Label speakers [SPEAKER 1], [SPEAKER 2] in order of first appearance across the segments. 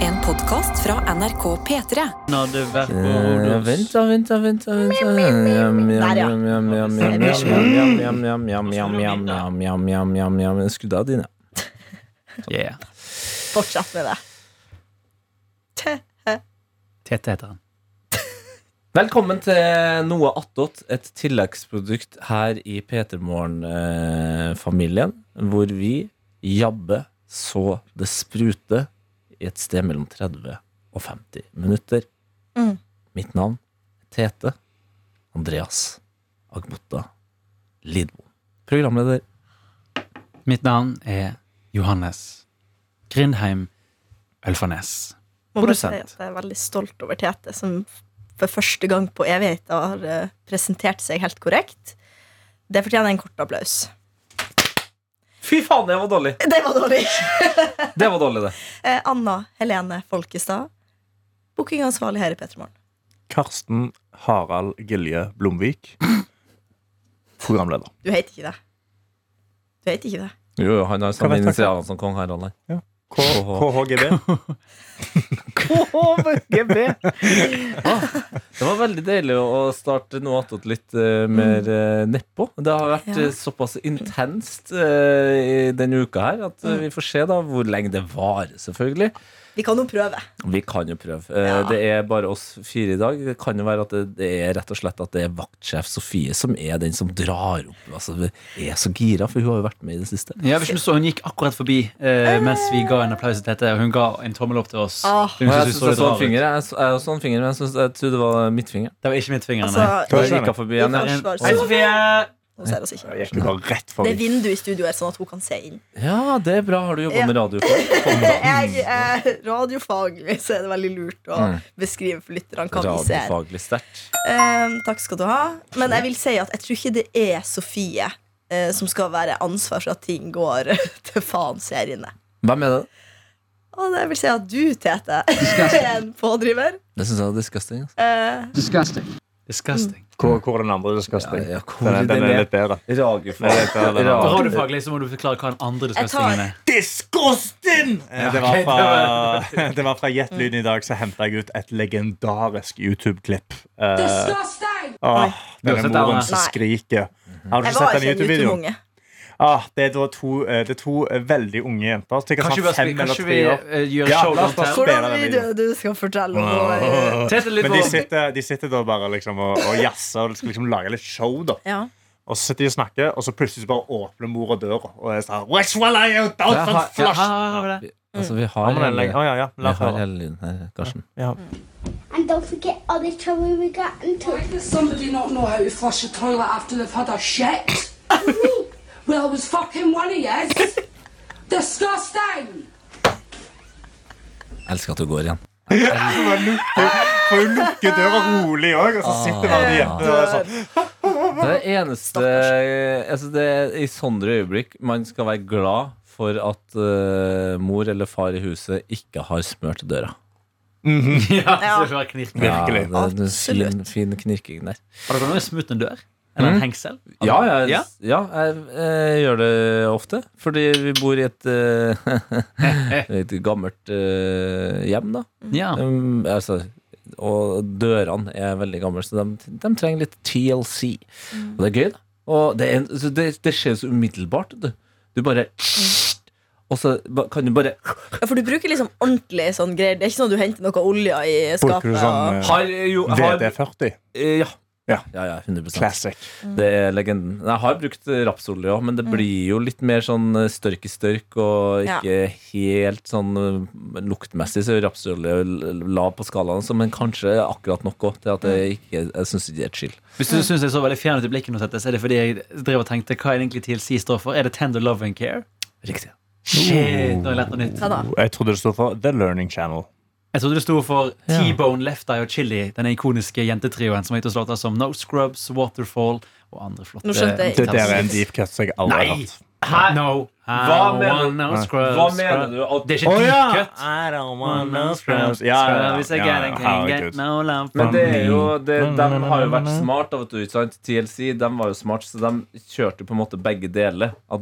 [SPEAKER 1] En podkast fra NRK P3.
[SPEAKER 2] Han hadde vært på
[SPEAKER 3] Eh,
[SPEAKER 2] Rodos.
[SPEAKER 3] Vent, da, vent, da. vent da, vent da. Jam, jam,
[SPEAKER 4] Der, ja.
[SPEAKER 3] jam, jam, jam, jam, jam, jam, jam, jam, jam, jam, jam, jam, jam, jam, jam. Skru av dine.
[SPEAKER 2] Yeah.
[SPEAKER 4] Fortsett med det.
[SPEAKER 2] Tete heter han.
[SPEAKER 3] Velkommen til Noe attåt, et tilleggsprodukt her i P3 Morgen-familien. Hvor vi jabber så det spruter i et sted mellom 30 og 50 minutter.
[SPEAKER 4] Mm.
[SPEAKER 3] Mitt navn er Tete Andreas Agbota Lidmo. Programleder.
[SPEAKER 2] Mitt navn er Johannes Grindheim Ølfarnes.
[SPEAKER 4] Må bare si
[SPEAKER 2] Produsent.
[SPEAKER 4] at jeg er veldig stolt over Tete, som for første gang på evigheten har eh, presentert seg helt korrekt. Det fortjener en kort applaus.
[SPEAKER 3] Fy faen, det var dårlig!
[SPEAKER 4] Det var dårlig.
[SPEAKER 3] Det var dårlig, det.
[SPEAKER 4] Eh, Anna Helene Folkestad, bookingansvarlig her i Petremorgen.
[SPEAKER 5] Karsten Harald Gilje Blomvik. Programleder.
[SPEAKER 4] Du heter ikke det. Du heter ikke det.
[SPEAKER 3] Jo, jo, han har samme
[SPEAKER 5] vet jeg?
[SPEAKER 3] initialer som kong Harald. her.
[SPEAKER 5] K- KHGB.
[SPEAKER 3] Det var veldig deilig å starte noe attåt litt eh, mer eh, nedpå. Det har vært
[SPEAKER 4] Mm. Ja.
[SPEAKER 3] eh, såpass intenst eh, i denne uka her at
[SPEAKER 4] Mm.
[SPEAKER 3] eh, vi får se da hvor lenge det varer, selvfølgelig.
[SPEAKER 4] Vi kan jo prøve.
[SPEAKER 3] Vi kan jo prøve. Eh,
[SPEAKER 4] Ja.
[SPEAKER 3] Det er bare oss fire i dag. Det kan jo være at det, det er rett og slett at det er vaktsjef Sofie som er den som drar opp. Altså, hun er så gira, for hun har jo vært med i det siste.
[SPEAKER 2] Ja, hvis du så Hun gikk akkurat forbi eh, mens vi ga en applaus til Tete, og hun ga en tommel opp til oss.
[SPEAKER 4] Ah.
[SPEAKER 2] Hun
[SPEAKER 3] Og jeg
[SPEAKER 2] syntes vi
[SPEAKER 3] synes
[SPEAKER 2] så
[SPEAKER 3] jeg så
[SPEAKER 2] litt
[SPEAKER 3] en
[SPEAKER 2] rar ut.
[SPEAKER 3] finger, jeg, jeg, jeg, så en finger, men jeg, synes, jeg trodde det var midtfinger.
[SPEAKER 2] Det var ikke mitt finger,
[SPEAKER 4] Altså,
[SPEAKER 2] nei.
[SPEAKER 3] Jeg
[SPEAKER 4] vi,
[SPEAKER 3] gikk forbi
[SPEAKER 4] vi
[SPEAKER 3] henne.
[SPEAKER 4] foreslår
[SPEAKER 2] Hei,
[SPEAKER 4] så,
[SPEAKER 2] Sofie!
[SPEAKER 4] Hun ser oss ikke.
[SPEAKER 5] Jeg gikk jo bare rett
[SPEAKER 4] Det er
[SPEAKER 5] forbi.
[SPEAKER 4] vindu i studio her, sånn at hun kan se inn.
[SPEAKER 3] Ja, det er bra. Har du jobba
[SPEAKER 4] Ja.
[SPEAKER 3] med radio før? Kom da.
[SPEAKER 4] Jeg eh, er radiofaglig, så er det veldig lurt å beskrive for lytterne hva vi ser.
[SPEAKER 3] Radiofaglig sterkt.
[SPEAKER 4] Eh, takk skal du ha. Men jeg vil si at jeg tror ikke det er Sofie eh, som skal være ansvar for at ting går til faen seriene.
[SPEAKER 3] Hvem er det?
[SPEAKER 4] Og det vil si at du, Tete, er en pådriver.
[SPEAKER 3] Det syns jeg er disgusting. Altså.
[SPEAKER 4] Eh,
[SPEAKER 2] Disgusting.
[SPEAKER 5] Hvor, hvor er den andre disgusting?
[SPEAKER 3] Ja, ja, hvor
[SPEAKER 5] Den, er- den er
[SPEAKER 3] er-
[SPEAKER 5] litt bedre.
[SPEAKER 3] Radiofaglig.
[SPEAKER 5] Jeg tar den andre.
[SPEAKER 2] Radiofaglig så må du forklare hva den andre
[SPEAKER 4] Jeg tar-
[SPEAKER 2] disgustingen er.
[SPEAKER 5] Disgusting! Eh, Det var fra, det var fra Gjett lyden i dag, så henta jeg ut et legendarisk YouTube-klipp. Eh,
[SPEAKER 4] Nei.
[SPEAKER 5] Åh,
[SPEAKER 2] Du har
[SPEAKER 5] denne
[SPEAKER 2] sett den,
[SPEAKER 5] moren
[SPEAKER 2] Anne?
[SPEAKER 5] som
[SPEAKER 4] Nei.
[SPEAKER 5] skriker. Har du
[SPEAKER 4] jeg
[SPEAKER 5] ikke sett
[SPEAKER 4] var ikke
[SPEAKER 5] den
[SPEAKER 4] en
[SPEAKER 5] YouTube-videoen?
[SPEAKER 4] YouTube-unge.
[SPEAKER 5] Ah, det er da to, eh, det er to eh, veldig unge jenter. Sikkert
[SPEAKER 2] Kanskje vi,
[SPEAKER 5] sånn
[SPEAKER 2] bare
[SPEAKER 5] fem
[SPEAKER 2] spiller-
[SPEAKER 5] eller
[SPEAKER 2] kanskje vi
[SPEAKER 5] tre år.
[SPEAKER 2] eh, gjør
[SPEAKER 5] Ja,
[SPEAKER 2] show
[SPEAKER 5] la oss
[SPEAKER 2] rundt
[SPEAKER 5] bare
[SPEAKER 2] her?
[SPEAKER 5] spille
[SPEAKER 4] Hvordan
[SPEAKER 5] den
[SPEAKER 4] video
[SPEAKER 5] videoen.
[SPEAKER 4] du skal fortelle om nå? eh,
[SPEAKER 2] Tete litt
[SPEAKER 5] Men de
[SPEAKER 2] på-
[SPEAKER 5] sitter, de sitter da bare liksom og, og jazzer og skal liksom lage litt show. da
[SPEAKER 4] Ja.
[SPEAKER 5] Og så sitter de og snakker, og så plutselig så bare åpner mora døra og er sånn Which one are you,
[SPEAKER 3] Jeg
[SPEAKER 5] Dolphin
[SPEAKER 3] har-
[SPEAKER 2] Ja,
[SPEAKER 5] Flush?
[SPEAKER 2] ja, ja, ja, det.
[SPEAKER 3] Altså, vi
[SPEAKER 5] Ja,
[SPEAKER 3] har
[SPEAKER 5] men den legger-
[SPEAKER 3] hele,
[SPEAKER 5] Å, ja, ja.
[SPEAKER 3] vi
[SPEAKER 5] La oss
[SPEAKER 3] har
[SPEAKER 5] høre.
[SPEAKER 3] hele lyden her, Karsten.
[SPEAKER 5] Ja.
[SPEAKER 6] And don't forget all the trouble we got into.
[SPEAKER 7] Why does somebody not know how to flush a toilet after they've had a shit? well, it was fucking one of yous. Disgusting!
[SPEAKER 3] Jeg elsker at du går igjen.
[SPEAKER 5] For hun lukker døra rolig òg, og så
[SPEAKER 2] Ah,
[SPEAKER 5] sitter bare de jentene og er sånn.
[SPEAKER 3] Det eneste altså det er I sånne øyeblikk man skal være glad for at eh, mor eller far i huset ikke har smørt døra.
[SPEAKER 2] Ja,
[SPEAKER 4] Ja.
[SPEAKER 2] så det knirker.
[SPEAKER 5] Virkelig.
[SPEAKER 3] Ja, det er en fin,
[SPEAKER 4] Absolutt.
[SPEAKER 3] fin knirking der.
[SPEAKER 2] Har dere noen gang smurt en dør? Eller en hengsel?
[SPEAKER 3] Ja, jeg,
[SPEAKER 2] Ja?
[SPEAKER 3] ja? jeg, jeg gjør det ofte. Fordi vi bor i et, eh, et gammelt eh, hjem, da.
[SPEAKER 2] Ja.
[SPEAKER 3] Um, altså, og dørene er veldig gamle, så de, de trenger litt TLC. Og det er gøy, da. Og det, er, en- så det, det skjer så umiddelbart. Du, du bare Og så ba- kan du bare
[SPEAKER 4] ja, for du bruker liksom ordentlig sånn greier. Det er ikke sånn at du henter noe olje i skapet.
[SPEAKER 5] Bruker du sånn
[SPEAKER 4] og-
[SPEAKER 5] eh,
[SPEAKER 3] har, jo, har, eh,
[SPEAKER 5] VD40?
[SPEAKER 3] Ja.
[SPEAKER 5] Ja.
[SPEAKER 3] ja, ja 100
[SPEAKER 5] Classic.
[SPEAKER 3] Det er legenden. Jeg har brukt rapsolje òg, men det blir jo litt mer sånn eh, størk i størk og
[SPEAKER 4] Ja.
[SPEAKER 3] ikke helt sånn eh, luktmessig så er rapsolje l- lav på skalaen, så- men kanskje akkurat nok òg til at jeg ikke Jeg syns ikke det er et chill.
[SPEAKER 2] Hvis du syns jeg så veldig fjern ut i blikket, nå, Tete, så er det fordi jeg drev og tenkte hva er det egentlig TLC står for. Er det Tender Love and Care?
[SPEAKER 3] Riktig.
[SPEAKER 2] Shit, nå har jeg lært noe nytt.
[SPEAKER 4] Hva da?
[SPEAKER 5] Jeg trodde det stod for The Learning Channel.
[SPEAKER 2] Jeg trodde det sto for T-Bone, Left Eye og Chili, den ikoniske jentetrioen som har gitt oss låter som No Scrubs, Waterfall og andre flotte
[SPEAKER 4] Nå skjønte jeg
[SPEAKER 5] Det
[SPEAKER 4] ikke.
[SPEAKER 5] der er en deep cut som jeg aldri har
[SPEAKER 2] Nei!
[SPEAKER 5] hørt.
[SPEAKER 2] Hæ? No
[SPEAKER 3] Hva
[SPEAKER 2] I
[SPEAKER 3] mener-
[SPEAKER 2] wanna scrub,
[SPEAKER 3] Hva
[SPEAKER 2] scrub.
[SPEAKER 3] mener du? At
[SPEAKER 2] Det er ikke dypkøtt.
[SPEAKER 5] I don't
[SPEAKER 2] Want
[SPEAKER 5] want
[SPEAKER 2] no
[SPEAKER 5] no
[SPEAKER 2] scrubs,
[SPEAKER 5] scrubs. Ja, ja, ja,
[SPEAKER 2] Hvis jeg
[SPEAKER 5] ja,
[SPEAKER 2] gjerne kan
[SPEAKER 5] herregud.
[SPEAKER 2] get no love
[SPEAKER 3] Men
[SPEAKER 2] from
[SPEAKER 3] det er jo,
[SPEAKER 2] me.
[SPEAKER 3] det, de har jo vært smart, da, vet du, ikke sant? TLC de var jo smart, så de kjørte på en måte begge deler. At,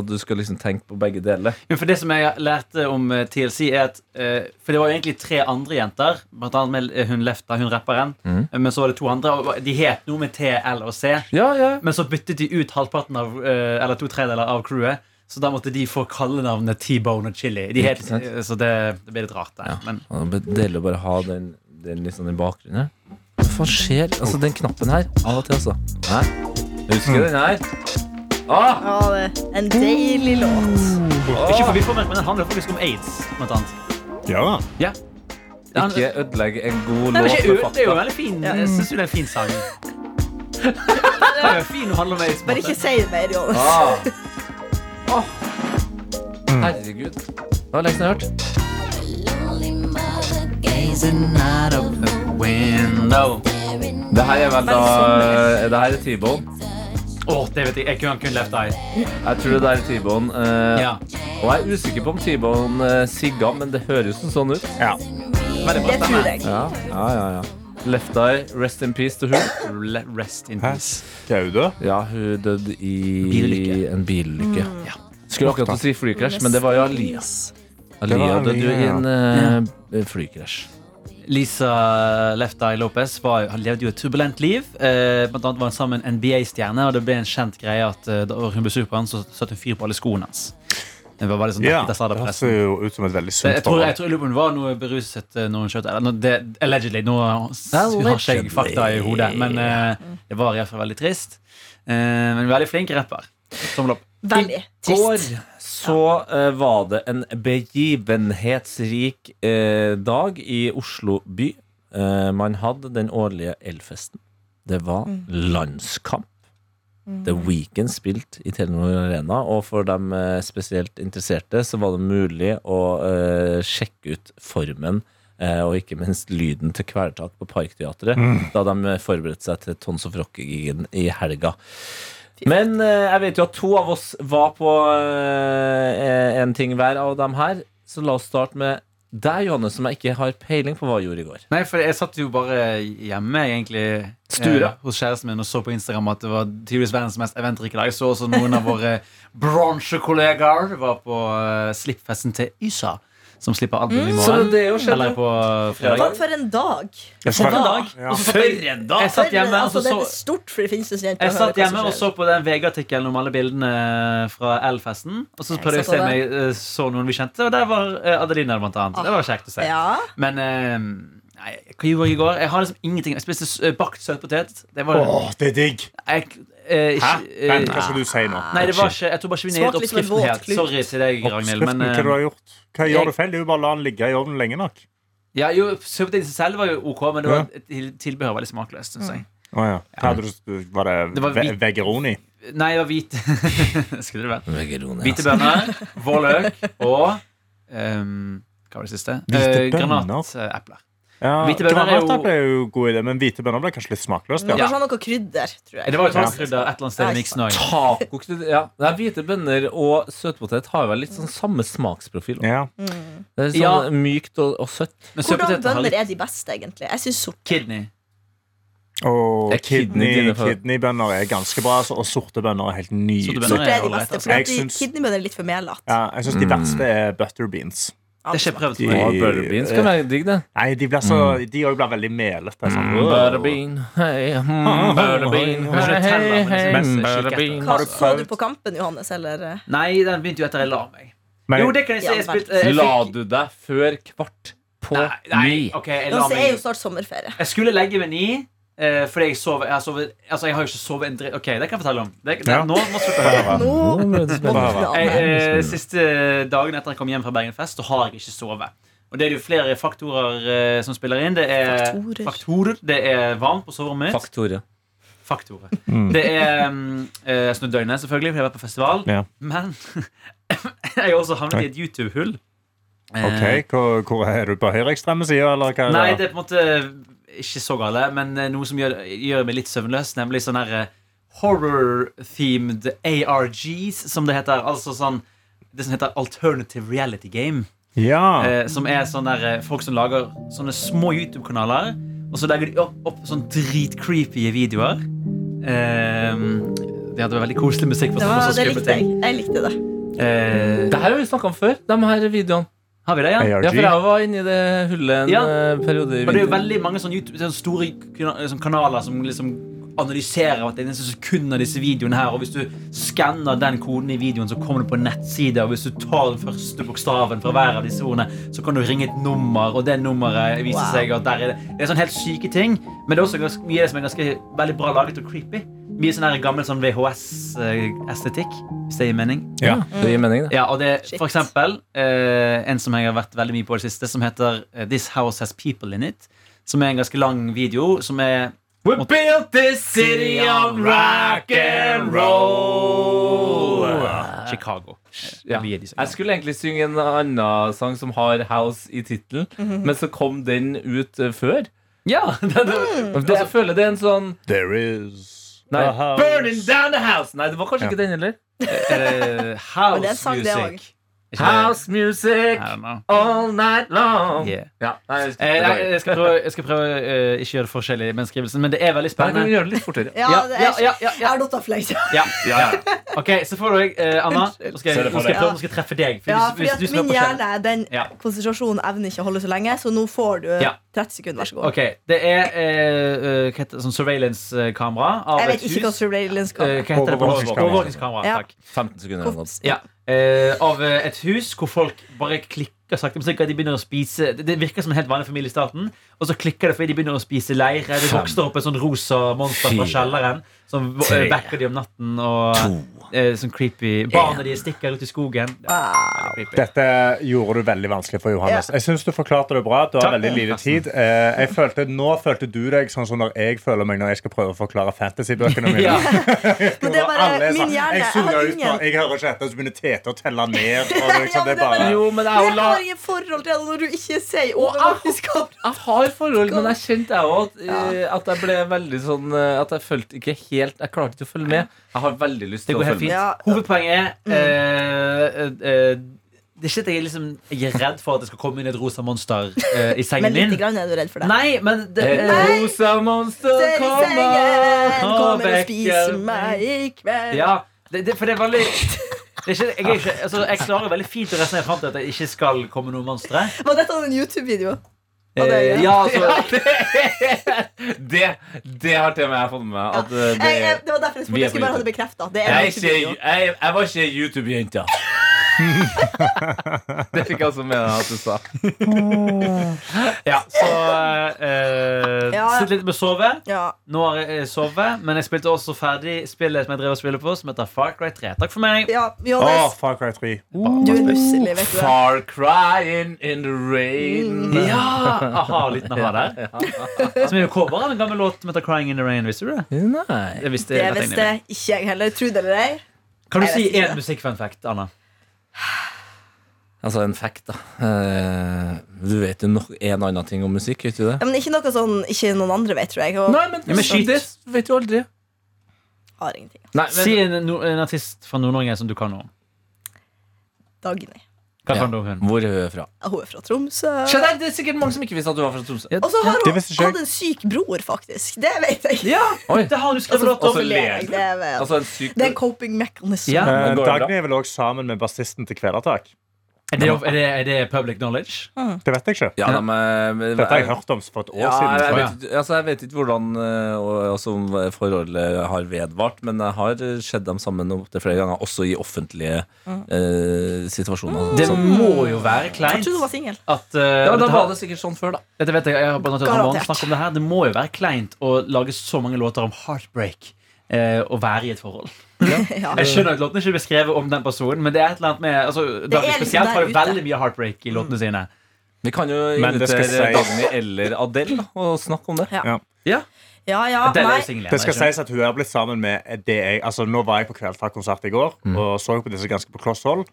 [SPEAKER 3] at du skal liksom tenke på begge deler.
[SPEAKER 2] Men for det som jeg lærte om eh, TLC, er at eh, For det var jo egentlig tre andre jenter, blant annet med eh, hun Lefta, hun rapperen.
[SPEAKER 3] Mhm.
[SPEAKER 2] Eh, Men så var det to andre, og de het noe med T, L og C.
[SPEAKER 3] Ja, ja.
[SPEAKER 2] Men så byttet de ut halvparten av, eh, eller to tredeler av crewet. Så da måtte de få kallenavnet T-Bone og Chili. De het,
[SPEAKER 3] Ikke sant?
[SPEAKER 2] eh, så det, det ble litt rart der. Men
[SPEAKER 3] Det er deilig å bare ha den, den litt sånn i bakgrunnen. her. Hva faen skjer? Altså, den knappen her. Av og til, altså. Hæ? Husker du den her? Ah!
[SPEAKER 4] Ja, det er en deilig låt.
[SPEAKER 2] ikke for vi får, men Den handler faktisk om aids. Blant annet.
[SPEAKER 5] Ja, da.
[SPEAKER 2] Ja. Den-
[SPEAKER 3] Ikke ødelegg en god
[SPEAKER 2] Nei, men
[SPEAKER 3] låt
[SPEAKER 2] ikke
[SPEAKER 3] for
[SPEAKER 2] øl, det er jo
[SPEAKER 3] fakta.
[SPEAKER 2] veldig fin.
[SPEAKER 4] Ja.
[SPEAKER 2] Jeg syns jo det er en fin sang. Det er jo fin å handle om aids. på en
[SPEAKER 4] Bare ikke
[SPEAKER 2] måte.
[SPEAKER 4] si det mer, Jonas.
[SPEAKER 3] Ah. Ah. Herregud. Det var lengst jeg har hørt. Det her er vel da Det her er T-Bone.
[SPEAKER 2] Åh, det vet jeg. Jeg kunne kun left eye.
[SPEAKER 3] Jeg tror det er T-Bone. eh,
[SPEAKER 2] Ja.
[SPEAKER 3] Og jeg er usikker på om T-Bone eh, sigga, men det høres jo sånn ut.
[SPEAKER 5] Ja.
[SPEAKER 2] Veldig bra.
[SPEAKER 4] Det tror jeg.
[SPEAKER 3] Ja, ja, ja, Left Eye, rest in peace til hun.
[SPEAKER 2] Le- Rest in
[SPEAKER 5] Hæ?
[SPEAKER 2] peace.
[SPEAKER 5] Daude?
[SPEAKER 3] Ja, hun døde i
[SPEAKER 2] Bilulykke.
[SPEAKER 3] en bilulykke. Ja. Skulle akkurat til å si flykrasj, men det var jo Alia.
[SPEAKER 5] Det
[SPEAKER 3] Alia
[SPEAKER 5] var
[SPEAKER 3] døde jo i
[SPEAKER 5] Alia,
[SPEAKER 3] en eh, flykrasj.
[SPEAKER 2] Lisa Left Eye Lopez var, han levde jo et turbulent liv. Eh, blant annet var hun sammen med en NBA-stjerne, og det ble en kjent greie at eh, da hun ble sur på han, så satte hun fyr på alle skoene hans. Det var veldig sånn
[SPEAKER 5] Ja,
[SPEAKER 2] dekket av
[SPEAKER 5] det
[SPEAKER 2] sladderpressen.
[SPEAKER 5] ser jo ut som et veldig
[SPEAKER 2] Jeg
[SPEAKER 5] sunt
[SPEAKER 2] tror, jeg
[SPEAKER 5] forhold.
[SPEAKER 2] tror jeg lurer på om hun var noe beruset eh, når hun skjøt. Eller, nå- det, allegedly. Nå s- har ikke jeg fakta i hodet, men eh, det var iallfall veldig trist. Eh, men veldig flink rapper. Tommel opp.
[SPEAKER 4] Veldig trist.
[SPEAKER 3] går så eh, var det en begivenhetsrik eh, dag i Oslo by. Eh, man hadde den årlige elfesten. Det var landskamp. The Weekend spilt i Telenor Arena, og for dem eh, spesielt interesserte så var det mulig å eh, sjekke ut formen eh, og ikke minst lyden til kvelertak på Parkteatret da de eh, forberedte seg til Tons of Rock-gigen i helga. Men eh, jeg vet jo at to av oss var på eh, en ting hver av dem her. Så la oss starte med deg, Johanne, som jeg ikke har peiling på hva jeg gjorde i går.
[SPEAKER 2] Nei, for jeg satt jo bare hjemme egentlig
[SPEAKER 3] Sture.
[SPEAKER 2] eh, hos kjæresten min og så på Instagram at det var tydeligvis verdens mest eventrike dag. Jeg så også noen av våre bronsekollegaer var på eh, slippfesten til Ysa, som slipper album
[SPEAKER 4] Mm,
[SPEAKER 2] i
[SPEAKER 3] Så
[SPEAKER 2] morgen.
[SPEAKER 3] det er jo skjedd.
[SPEAKER 2] Eller på
[SPEAKER 4] Hva
[SPEAKER 2] fredag.
[SPEAKER 4] for en dag?
[SPEAKER 5] Jeg
[SPEAKER 2] For en
[SPEAKER 5] skal-
[SPEAKER 2] dag!
[SPEAKER 5] Ja.
[SPEAKER 2] Og så satt jeg- Jeg satt hjemme og
[SPEAKER 4] altså,
[SPEAKER 2] så
[SPEAKER 4] det er
[SPEAKER 2] så
[SPEAKER 4] stort, for det finnes jo studenter.
[SPEAKER 2] Jeg satt hjemme og så på den VG-artikkelen om alle bildene fra L-festen. Og så
[SPEAKER 4] Jeg
[SPEAKER 2] prøvde jeg å se
[SPEAKER 4] satt på
[SPEAKER 2] om jeg eh, så noen vi kjente, og der var eh, Adelina blant annet. Det var kjekt å se.
[SPEAKER 4] Ja.
[SPEAKER 2] Men eh, nei, hva gjorde jeg i går? Jeg har liksom ingenting. Jeg spiste s- eh, bakt søtpotet. Det var
[SPEAKER 5] Åh, det er digg!
[SPEAKER 2] jeg, eh,
[SPEAKER 5] Hæ?
[SPEAKER 2] ikke, eh,
[SPEAKER 5] Vent, hva skal du si nå?
[SPEAKER 2] Nei, det var ikke, jeg tror bare ikke vi nøyde
[SPEAKER 4] Smakte liksom en
[SPEAKER 2] oppskriften
[SPEAKER 4] våt
[SPEAKER 2] helt.
[SPEAKER 4] klut.
[SPEAKER 2] Sorry til deg, Ragnhild.
[SPEAKER 5] Oppskriften,
[SPEAKER 2] Men
[SPEAKER 5] hva du
[SPEAKER 2] eh,
[SPEAKER 5] har gjort? Hva
[SPEAKER 2] jeg-
[SPEAKER 5] gjør du feil? Det er jo bare å la den ligge i ovnen lenge nok.
[SPEAKER 2] ja, jo, søtpoteten i seg selv var jo ok, men det var, til- tilbehøret var veldig smakløst, synes jeg.
[SPEAKER 5] Å ja. Hva hadde du, var det,
[SPEAKER 2] Det var
[SPEAKER 5] ve
[SPEAKER 2] hvit-
[SPEAKER 5] vegeroni?
[SPEAKER 2] Nei, det var hvit. Skulle det vært.
[SPEAKER 3] Vegeroni,
[SPEAKER 2] Hvite bønner, vårløk og ehm, Hva var det siste?
[SPEAKER 5] Hvite
[SPEAKER 2] Eh,
[SPEAKER 5] bønner?
[SPEAKER 2] Granatepler.
[SPEAKER 5] Ja,
[SPEAKER 2] Hvite bønner er jo-
[SPEAKER 5] granatapple er jo god idé, men hvite bønner ble kanskje litt smakløst.
[SPEAKER 4] Må
[SPEAKER 5] Ja.
[SPEAKER 2] Ja.
[SPEAKER 4] kanskje ha noe krydder, tror jeg.
[SPEAKER 2] Eh, Det var jo
[SPEAKER 5] Ja.
[SPEAKER 2] tvangskrydder et eller annet sted i miksen òg.
[SPEAKER 3] Taco ja. Det er Hvite bønner og søtpotet har jo vel litt sånn samme smaksprofil.
[SPEAKER 5] Ja.
[SPEAKER 3] Det er sånn
[SPEAKER 2] Ja.
[SPEAKER 3] Mykt og, og søtt.
[SPEAKER 2] Men
[SPEAKER 4] Hvordan
[SPEAKER 2] søtpoteter har
[SPEAKER 4] bønner
[SPEAKER 2] litt
[SPEAKER 4] er de beste, egentlig? Jeg synes sort.
[SPEAKER 2] kidney.
[SPEAKER 5] Og
[SPEAKER 3] Er kidney
[SPEAKER 5] kidney-
[SPEAKER 3] dine for-
[SPEAKER 5] kidneybønner er ganske bra, altså, og sorte bønner er helt
[SPEAKER 2] Sorte
[SPEAKER 5] nydelige.
[SPEAKER 2] bønner.
[SPEAKER 4] Sorte
[SPEAKER 2] er
[SPEAKER 4] er de
[SPEAKER 2] all right,
[SPEAKER 4] beste,
[SPEAKER 2] altså.
[SPEAKER 4] for
[SPEAKER 5] Jeg
[SPEAKER 4] at de
[SPEAKER 5] syns-
[SPEAKER 4] kidneybønner er litt for melete.
[SPEAKER 5] Ja, jeg syns de verste er butterbeans.
[SPEAKER 2] Det er
[SPEAKER 4] altså.
[SPEAKER 2] ikke prøvd
[SPEAKER 5] De-
[SPEAKER 2] for meg.
[SPEAKER 3] Og Butterbeans kan være digg, det.
[SPEAKER 5] Nei, de blir så De òg blir veldig melete. Sånn.
[SPEAKER 2] Mm.
[SPEAKER 3] Butterbean, hei, mm, butterbean,
[SPEAKER 2] Kanskje det teller, men det er ikke
[SPEAKER 3] butterbean.
[SPEAKER 4] Hva
[SPEAKER 5] Har du
[SPEAKER 4] så du
[SPEAKER 5] prøvd-
[SPEAKER 4] på kampen, Johannes, eller? eh?
[SPEAKER 2] Nei, den begynte jo etter jeg la meg.
[SPEAKER 5] Men
[SPEAKER 2] Jo, det kan jeg si. Jeg
[SPEAKER 4] Ja,
[SPEAKER 2] spilte eh, jeg
[SPEAKER 3] La
[SPEAKER 2] fikk-
[SPEAKER 3] du deg før kvart på
[SPEAKER 2] Nei, nei,
[SPEAKER 3] ni?
[SPEAKER 2] OK, jeg la
[SPEAKER 4] Nå er jo
[SPEAKER 2] meg.
[SPEAKER 4] snart sommerferie.
[SPEAKER 2] Jeg skulle legge meg ni. eh, fordi jeg sover, jeg har sovet Altså, jeg har jo ikke sovet en dritt. OK, det kan jeg fortelle om. Det, det,
[SPEAKER 5] Ja.
[SPEAKER 2] Nå må jeg slutte å høre.
[SPEAKER 4] Nå
[SPEAKER 3] Nå ble det
[SPEAKER 4] må du
[SPEAKER 3] spennende.
[SPEAKER 5] Bra,
[SPEAKER 4] dra
[SPEAKER 2] Jeg,
[SPEAKER 4] med.
[SPEAKER 2] eh, siste dagen etter jeg kom hjem fra Bergenfest, så har jeg ikke sovet. Og det er det jo flere faktorer eh, som spiller inn. Det er
[SPEAKER 4] Faktorer.
[SPEAKER 2] faktorer, det er varmt på soverommet mitt.
[SPEAKER 3] Faktorer.
[SPEAKER 2] Faktorer.
[SPEAKER 5] Mm.
[SPEAKER 2] Det er um, eh, snødøgnet, selvfølgelig, fordi jeg har vært på festival.
[SPEAKER 5] Ja.
[SPEAKER 2] Men jeg har også havnet i et YouTube-hull. Eh,
[SPEAKER 5] OK, hvor, hvor er du på høyreekstreme side, eller hva?
[SPEAKER 2] Nei, det er på en måte ikke så gale, men eh, noe som gjør, gjør meg litt søvnløs, nemlig sånn her eh, horror-themed ARGs, som det heter. Altså sånn det som heter Alternative Reality Game.
[SPEAKER 5] Ja.
[SPEAKER 2] Eh, som er sånne der, eh, folk som lager sånne små YouTube-kanaler. Og så legger de opp, opp sånn dritcreepy videoer. Eh, de hadde veldig koselig musikk. på sånn,
[SPEAKER 4] Det, var,
[SPEAKER 2] og så
[SPEAKER 4] det
[SPEAKER 2] skumle
[SPEAKER 4] likte jeg.
[SPEAKER 2] ting.
[SPEAKER 4] Jeg likte det.
[SPEAKER 2] Eh,
[SPEAKER 3] Det her har vi snakka om før, de her videoene.
[SPEAKER 2] har vi det, ja?
[SPEAKER 5] ARG.
[SPEAKER 3] Ja, for jeg var inni det hullet en
[SPEAKER 2] Ja.
[SPEAKER 3] eh, periode. i
[SPEAKER 2] Men det er jo
[SPEAKER 3] vinter.
[SPEAKER 2] veldig mange sånne, YouTube, sånne store kana- sånne kanaler som liksom analyserer at det er nesten sekunder disse videoene her, og hvis du skanner den koden i videoen, så kommer du på en nettside, og hvis du tar den første bokstaven fra hver av disse ordene, så kan du ringe et nummer, og det nummeret viser
[SPEAKER 4] Wow.
[SPEAKER 2] seg at der er det. Det er sånne helt syke ting, men det er også ganske, mye som er ganske veldig bra laget og creepy. Mye sånn her gammel sånn VHS-estetikk, hvis det gir mening.
[SPEAKER 5] ja.
[SPEAKER 3] Det gir mening, det.
[SPEAKER 2] Ja, og det er
[SPEAKER 4] Shit.
[SPEAKER 2] for eksempel eh, en som jeg har vært veldig mye på i det siste, som heter eh, This House Has People In It. Som er en ganske lang video, som er
[SPEAKER 3] We built this city on rock and roll.
[SPEAKER 2] Chicago.
[SPEAKER 3] Ja.
[SPEAKER 2] Vi er de som-
[SPEAKER 3] Jeg skulle egentlig synge en annen sang som har House i tittelen, men så kom den ut eh, før.
[SPEAKER 2] Mhm. Ja, Mm. det, det,
[SPEAKER 3] Og så føler jeg det er en sånn
[SPEAKER 5] There is
[SPEAKER 3] Nei,
[SPEAKER 5] a house.
[SPEAKER 3] Burning down the house! Nei, det var kanskje
[SPEAKER 5] Ja.
[SPEAKER 3] ikke den heller.
[SPEAKER 2] eh,
[SPEAKER 4] Men det er en
[SPEAKER 2] house
[SPEAKER 4] sang, det
[SPEAKER 2] music. Ikke det?
[SPEAKER 3] House music
[SPEAKER 2] I don't know.
[SPEAKER 3] all night long.
[SPEAKER 2] Yeah.
[SPEAKER 3] Ja, nei, jeg,
[SPEAKER 2] Eh, nei, jeg skal prøve, jeg skal prøve eh, ikke gjøre det forskjellig i beskrivelsen, men det er veldig
[SPEAKER 3] Nei, kan du
[SPEAKER 2] spennende.
[SPEAKER 3] gjøre det litt fortere?
[SPEAKER 4] Ja,
[SPEAKER 2] Ja,
[SPEAKER 4] det
[SPEAKER 2] ja,
[SPEAKER 4] er,
[SPEAKER 2] ja, ja,
[SPEAKER 4] Jeg
[SPEAKER 2] ja.
[SPEAKER 4] har datt av fleisen.
[SPEAKER 2] Ja. Ok, så får du eh, Anna. Nå skal jeg, nå skal jeg, prøve,
[SPEAKER 4] Ja.
[SPEAKER 2] nå skal jeg treffe deg. for
[SPEAKER 4] Ja,
[SPEAKER 2] hvis-
[SPEAKER 4] fordi
[SPEAKER 2] hvis
[SPEAKER 4] at
[SPEAKER 2] du som er
[SPEAKER 4] min
[SPEAKER 2] på skjerm-
[SPEAKER 4] hjerne den
[SPEAKER 2] Ja.
[SPEAKER 4] konsentrasjonen evner ikke å holde så lenge, så nå får du
[SPEAKER 2] Ja.
[SPEAKER 4] 30 sekunder. Vær så god.
[SPEAKER 2] Ok, Det er eh, eh, hva heter det, sånn surveillance-kamera av
[SPEAKER 4] Jeg
[SPEAKER 2] et
[SPEAKER 4] vet ikke hva
[SPEAKER 2] hus.
[SPEAKER 4] surveillance
[SPEAKER 2] Eh,
[SPEAKER 4] kan.
[SPEAKER 2] Hva heter det? på norsk?
[SPEAKER 5] Overvåkingskamera.
[SPEAKER 2] Overvåkingskamera.
[SPEAKER 4] Ja.
[SPEAKER 2] takk
[SPEAKER 3] 15 sekunder. eller noe sånt.
[SPEAKER 2] ja. Eh, Av eh, et hus hvor folk bare klikker sakte, men sikkert. De begynner å spise Det det virker som en helt vanlig familie i starten. Og så klikker det fordi de begynner å spise leir. Det
[SPEAKER 3] Fem.
[SPEAKER 2] vokser opp et sånn rosa monster fra
[SPEAKER 3] Fire.
[SPEAKER 2] kjelleren som eh,
[SPEAKER 3] Tre.
[SPEAKER 2] vekker de om natten. Og eh, sånn creepy Barna de stikker ut i skogen. Ja, veldig creepy.
[SPEAKER 5] Dette gjorde du veldig vanskelig for Johannes. Jeg synes du forklarte det bra. Du har
[SPEAKER 2] Takk.
[SPEAKER 5] veldig lite tid. Eh, Jeg følte, nå følte du deg sånn som når jeg føler meg når jeg skal prøve å forklare fantasybøkene mine.
[SPEAKER 2] Ja.
[SPEAKER 4] Men det er
[SPEAKER 5] Hvor
[SPEAKER 4] bare
[SPEAKER 5] alle er sånn,
[SPEAKER 4] min hjerne.
[SPEAKER 5] Jeg
[SPEAKER 4] Jeg
[SPEAKER 5] suger
[SPEAKER 4] har
[SPEAKER 5] ut nå,
[SPEAKER 4] ingen
[SPEAKER 5] jeg hører ikke etter, så begynner Tete å telle ned. Og det, er liksom,
[SPEAKER 4] Ja,
[SPEAKER 5] det
[SPEAKER 4] men
[SPEAKER 5] er bare,
[SPEAKER 3] Jo, men jeg, er
[SPEAKER 4] Jeg
[SPEAKER 3] jo la,
[SPEAKER 4] har ingen forhold til det når du ikke sier overvåkningskamera.
[SPEAKER 3] jeg har forhold, men jeg kjente jeg òg at, eh, at jeg ble veldig sånn eh, At jeg følte ikke helt Jeg klarte ikke å følge med. Jeg har veldig lyst
[SPEAKER 2] Det
[SPEAKER 3] til å
[SPEAKER 2] går helt
[SPEAKER 3] følge
[SPEAKER 2] fint.
[SPEAKER 3] med.
[SPEAKER 4] Ja. Mm.
[SPEAKER 2] Hovedpoenget er eh, eh, eh, Det er ikke at jeg, er liksom, jeg er redd for at det skal komme inn et rosa monster eh, i sengen
[SPEAKER 4] Men
[SPEAKER 2] din.
[SPEAKER 4] lite grann er du redd for det.
[SPEAKER 2] Nei, men det,
[SPEAKER 3] Et
[SPEAKER 2] eh,
[SPEAKER 3] rosa monster
[SPEAKER 4] Ser i sengen,
[SPEAKER 3] kommer!
[SPEAKER 4] kommer og
[SPEAKER 2] vekker
[SPEAKER 4] spiser
[SPEAKER 2] meg.
[SPEAKER 4] meg i kveld.
[SPEAKER 2] Ja, det, det, for det er veldig det er ikke, jeg, er ikke, altså, jeg klarer veldig fint å resonnere fram til at det ikke skal komme noen monstre.
[SPEAKER 4] Var dette en YouTube-video? Ja, det er
[SPEAKER 2] Eh,
[SPEAKER 4] det.
[SPEAKER 2] ja, altså,
[SPEAKER 3] Det, det har til og med jeg fått med meg. At eh,
[SPEAKER 4] Jeg, jeg,
[SPEAKER 3] det
[SPEAKER 4] det var derfor
[SPEAKER 3] Vi
[SPEAKER 4] jeg spurte.
[SPEAKER 3] er
[SPEAKER 4] Jeg skulle
[SPEAKER 3] på
[SPEAKER 4] bare ha det bekrefta. Det er en
[SPEAKER 3] jeg, er ikke,
[SPEAKER 4] YouTube-video.
[SPEAKER 3] jeg, jeg var ikke YouTube-jenta. det fikk jeg også med meg at du sa.
[SPEAKER 2] ja, så eh,
[SPEAKER 4] Ja, ja.
[SPEAKER 2] Sitt litt med sove.
[SPEAKER 4] Ja.
[SPEAKER 2] Nå har jeg eh, sovet, men jeg spilte også ferdig spillet som jeg drev og spiller på, som heter Far Cry 3. Takk for meg.
[SPEAKER 4] ja,
[SPEAKER 5] Åh,
[SPEAKER 4] Johannes,
[SPEAKER 5] Far Cry 3.
[SPEAKER 4] du er nusselig, vet du det.
[SPEAKER 3] Far crying in the rain.
[SPEAKER 2] Ja! Aha, liten aha der. Som er jo cover av en gammel låt som heter Crying in the Rain. Visste du det?
[SPEAKER 3] Nei.
[SPEAKER 2] Jeg visste,
[SPEAKER 4] Det
[SPEAKER 2] rett inn i
[SPEAKER 4] visste
[SPEAKER 2] det.
[SPEAKER 4] ikke jeg heller. Tro det eller ei.
[SPEAKER 2] Kan du
[SPEAKER 4] Jeg
[SPEAKER 2] si
[SPEAKER 4] visste ikke
[SPEAKER 2] én
[SPEAKER 4] det.
[SPEAKER 2] musikkfunfact, Anna?
[SPEAKER 3] Altså en fact, da. Eh, Du vet jo nok en annen ting om musikk, vet du det?
[SPEAKER 4] Ja, men ikke noe sånn ikke noen andre vet, tror jeg. Og
[SPEAKER 3] men,
[SPEAKER 2] Ja, men skyt.
[SPEAKER 3] det vet du aldri.
[SPEAKER 4] har ingenting.
[SPEAKER 3] Nei, men,
[SPEAKER 2] Si en, no- en artist fra Nord-Norge som du kan noe om.
[SPEAKER 4] Dagny.
[SPEAKER 2] Hva
[SPEAKER 3] Ja.
[SPEAKER 2] kan du om hun?
[SPEAKER 3] Hvor er hun fra?
[SPEAKER 4] Hun er fra Tromsø.
[SPEAKER 3] Skjønner, jeg, det er sikkert mange som ikke visste at du var fra Tromsø.
[SPEAKER 4] Og så har
[SPEAKER 5] Det
[SPEAKER 4] hun
[SPEAKER 5] visste ikke jeg.
[SPEAKER 4] hatt en syk bror, faktisk. Det vet jeg.
[SPEAKER 2] Ja!
[SPEAKER 3] Oi.
[SPEAKER 2] Det har du skrevet
[SPEAKER 4] Altså,
[SPEAKER 2] låt om.
[SPEAKER 3] også
[SPEAKER 4] det,
[SPEAKER 3] ler du.
[SPEAKER 4] det, er vel-
[SPEAKER 3] Altså en syk
[SPEAKER 4] det er en coping mechanism.
[SPEAKER 2] Ja.
[SPEAKER 5] Eh,
[SPEAKER 3] Men går det bra?
[SPEAKER 5] Dagny er vel òg sammen med bassisten til Kvelertak.
[SPEAKER 2] Er det, er, det, er det public knowledge?
[SPEAKER 5] Det vet jeg ikke.
[SPEAKER 3] Ja, da, men, men-
[SPEAKER 5] Dette har jeg hørt om for et år
[SPEAKER 3] Ja,
[SPEAKER 5] siden.
[SPEAKER 3] jeg,
[SPEAKER 5] tror jeg.
[SPEAKER 3] vet, ikke- altså, jeg vet ikke hvordan eh, og- altså, om forholdet har vedvart, men jeg har eh, sett dem sammen opptil flere ganger, også i offentlige eh, situasjoner.
[SPEAKER 2] Det
[SPEAKER 3] Sånn.
[SPEAKER 2] må jo være
[SPEAKER 4] Jeg
[SPEAKER 2] kleint.
[SPEAKER 4] trodde hun var singel.
[SPEAKER 2] At, eh,
[SPEAKER 3] Ja, da
[SPEAKER 2] dette,
[SPEAKER 3] var
[SPEAKER 2] har-
[SPEAKER 3] det sikkert sånn før, da.
[SPEAKER 2] dette vet jeg, jeg har bare
[SPEAKER 4] Garantert.
[SPEAKER 2] snakket om det her Det må jo være kleint å lage så mange låter om heartbreak eh, og være i et forhold.
[SPEAKER 4] Ja.
[SPEAKER 2] Jeg skjønner at låten ikke er beskrevet om den personen, men det er et eller annet med altså, Dagny
[SPEAKER 4] liksom
[SPEAKER 2] spesielt
[SPEAKER 4] der
[SPEAKER 2] har jo
[SPEAKER 4] ute.
[SPEAKER 2] veldig mye heartbreak i låtene sine.
[SPEAKER 3] Vi kan jo
[SPEAKER 5] Men det skal
[SPEAKER 3] invitere
[SPEAKER 5] sies-
[SPEAKER 3] Dagny eller Adele da, og snakke om det.
[SPEAKER 4] Ja, ja,
[SPEAKER 2] Adele er jo
[SPEAKER 4] nei.
[SPEAKER 2] single igjen,
[SPEAKER 5] Det skal
[SPEAKER 2] er ikke
[SPEAKER 5] sies at hun er blitt sammen med det jeg Altså, nå var jeg på Kvelertak-konsert i går og så på disse ganske på kloss hold.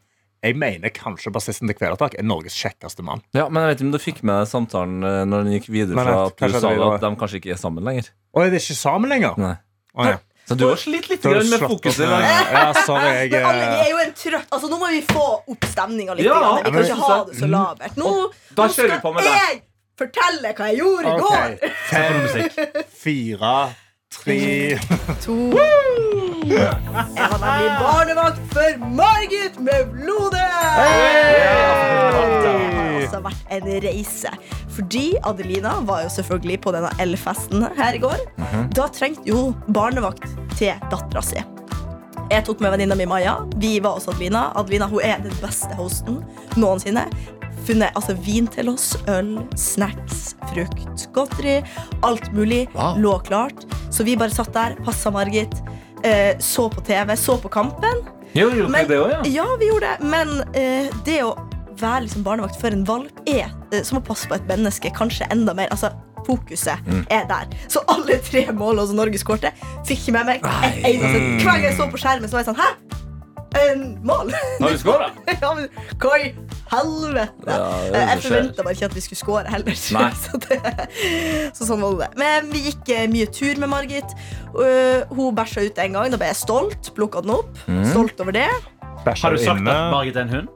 [SPEAKER 5] Jeg mener kanskje bassisten til Kvelertak er Norges kjekkeste mann.
[SPEAKER 3] Ja, men jeg vet ikke om du fikk med deg samtalen eh, når den gikk videre
[SPEAKER 5] Nei, nei,
[SPEAKER 3] fra at
[SPEAKER 5] kanskje
[SPEAKER 3] du sa
[SPEAKER 5] det var-
[SPEAKER 3] at de kanskje ikke er sammen lenger.
[SPEAKER 5] Og er de ikke sammen lenger?
[SPEAKER 3] Nei.
[SPEAKER 5] Å, ja.
[SPEAKER 3] Så du har slitt litt
[SPEAKER 5] Da har
[SPEAKER 3] grann
[SPEAKER 5] du
[SPEAKER 3] med
[SPEAKER 5] slått
[SPEAKER 3] fokuset i
[SPEAKER 5] opp
[SPEAKER 3] dag.
[SPEAKER 5] med- Ja, sorry, jeg
[SPEAKER 4] Men alle, vi
[SPEAKER 5] eh,
[SPEAKER 4] er jo en trøtt Altså, nå må vi få opp stemninga litt.
[SPEAKER 3] Ja, Mm.
[SPEAKER 4] grann. vi
[SPEAKER 5] men-
[SPEAKER 4] kan ikke ha det så labert. Nå,
[SPEAKER 3] Da
[SPEAKER 4] nå
[SPEAKER 3] kjører vi på med det.
[SPEAKER 4] jeg fortelle hva jeg gjorde i
[SPEAKER 5] OK.
[SPEAKER 4] går!
[SPEAKER 5] Fem,
[SPEAKER 2] musikk.
[SPEAKER 5] fire, tre
[SPEAKER 4] To. Jeg var nemlig barnevakt for Margit med blodet! Det har
[SPEAKER 5] Hey!
[SPEAKER 4] altså vært en reise. Fordi Adelina var jo selvfølgelig på denne L-festen her i går.
[SPEAKER 3] Mhm.
[SPEAKER 4] Da trengte jo barnevakt til dattera si. Jeg tok med venninna mi Maja. Vi var hos Adelina. Adelina hun er den beste hosten noensinne. Funnet altså, vin til oss, øl, snacks, frukt, godteri. Alt mulig lå klart. Så vi bare satt der, passa Margit, eh, så på TV, så på kampen.
[SPEAKER 3] Jo, jo, det også, ja.
[SPEAKER 4] Ja, vi gjorde det. Men eh, det å være liksom barnevakt for en valp er eh, som å passe på et menneske, kanskje enda mer. Altså, Fokuset
[SPEAKER 3] Mm.
[SPEAKER 4] er der. Så alle tre målene som Norge skårte, fikk ikke med meg. Et eneste.
[SPEAKER 3] Mm.
[SPEAKER 4] Hver gang jeg så på skjermen, så var jeg sånn Hæ? En mål?
[SPEAKER 3] Har du skåra?
[SPEAKER 4] ja, men hva i helvete? Eh,
[SPEAKER 3] Ja, det er det
[SPEAKER 4] jeg
[SPEAKER 3] som skjer.
[SPEAKER 4] forventa bare ikke at vi skulle score heller.
[SPEAKER 3] Nei.
[SPEAKER 4] Så, det, så sånn var det. Men vi gikk eh, mye tur med Margit. Uh, hun bæsja ut en gang. Da ble jeg stolt. Plukka den opp.
[SPEAKER 3] Mm.
[SPEAKER 4] Stolt over det.
[SPEAKER 2] Har du sagt
[SPEAKER 5] inne.
[SPEAKER 2] at Margit er en hund?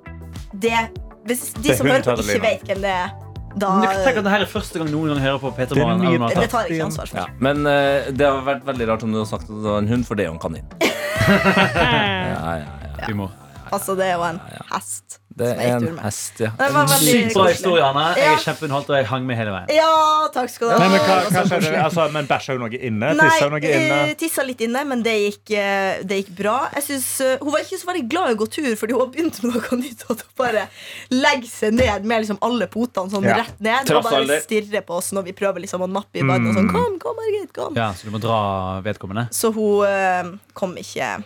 [SPEAKER 4] det Hvis de
[SPEAKER 5] Det
[SPEAKER 4] som
[SPEAKER 5] er
[SPEAKER 4] hører på,
[SPEAKER 5] hundetall,
[SPEAKER 4] ikke vet
[SPEAKER 5] Lina.
[SPEAKER 4] hvem det er, da
[SPEAKER 2] Men Tenk at dette er første gang noen gang hører på Peter
[SPEAKER 5] Det er
[SPEAKER 2] Morgen.
[SPEAKER 5] mye-
[SPEAKER 2] eller noe
[SPEAKER 4] Det
[SPEAKER 2] annet.
[SPEAKER 4] tar jeg ikke ansvar for.
[SPEAKER 3] Ja, men eh, det har vært veldig rart om du har sagt at det var en hund, for det er jo en kanin. ja, ja, ja.
[SPEAKER 2] Humor.
[SPEAKER 4] Altså, det er jo en hest.
[SPEAKER 3] Det
[SPEAKER 4] som jeg
[SPEAKER 3] er
[SPEAKER 4] gikk tur
[SPEAKER 3] en
[SPEAKER 4] med.
[SPEAKER 3] hest, ja.
[SPEAKER 4] Det var veldig
[SPEAKER 2] Sykt bra
[SPEAKER 4] koselig.
[SPEAKER 2] historie, Anne. Jeg
[SPEAKER 4] Ja.
[SPEAKER 2] er kjempeunderholdt, og jeg hang med hele veien.
[SPEAKER 4] Ja, takk skal du ha.
[SPEAKER 5] Nei, men hva,
[SPEAKER 4] Det
[SPEAKER 5] hva
[SPEAKER 4] var så
[SPEAKER 5] skjedde?
[SPEAKER 4] koselig.
[SPEAKER 5] Altså, men bæsja hun noe inne? Tissa hun
[SPEAKER 4] Nei,
[SPEAKER 5] noe inne?
[SPEAKER 4] eh, tissa litt inne, men det gikk, eh, det gikk bra. Jeg synes, eh, Hun var ikke så veldig glad i å gå tur, fordi hun har begynt med noe nytt. At hun bare legger seg ned med liksom alle potene sånn
[SPEAKER 5] Ja. Mm.
[SPEAKER 4] rett ned og
[SPEAKER 3] Trass alder.
[SPEAKER 4] bare stirrer på oss når vi prøver liksom å nappe i vannet. og Sånn, kom, kom, Margit, kom.
[SPEAKER 2] Ja, så du må dra vedkommende?
[SPEAKER 4] Så hun eh, kom ikke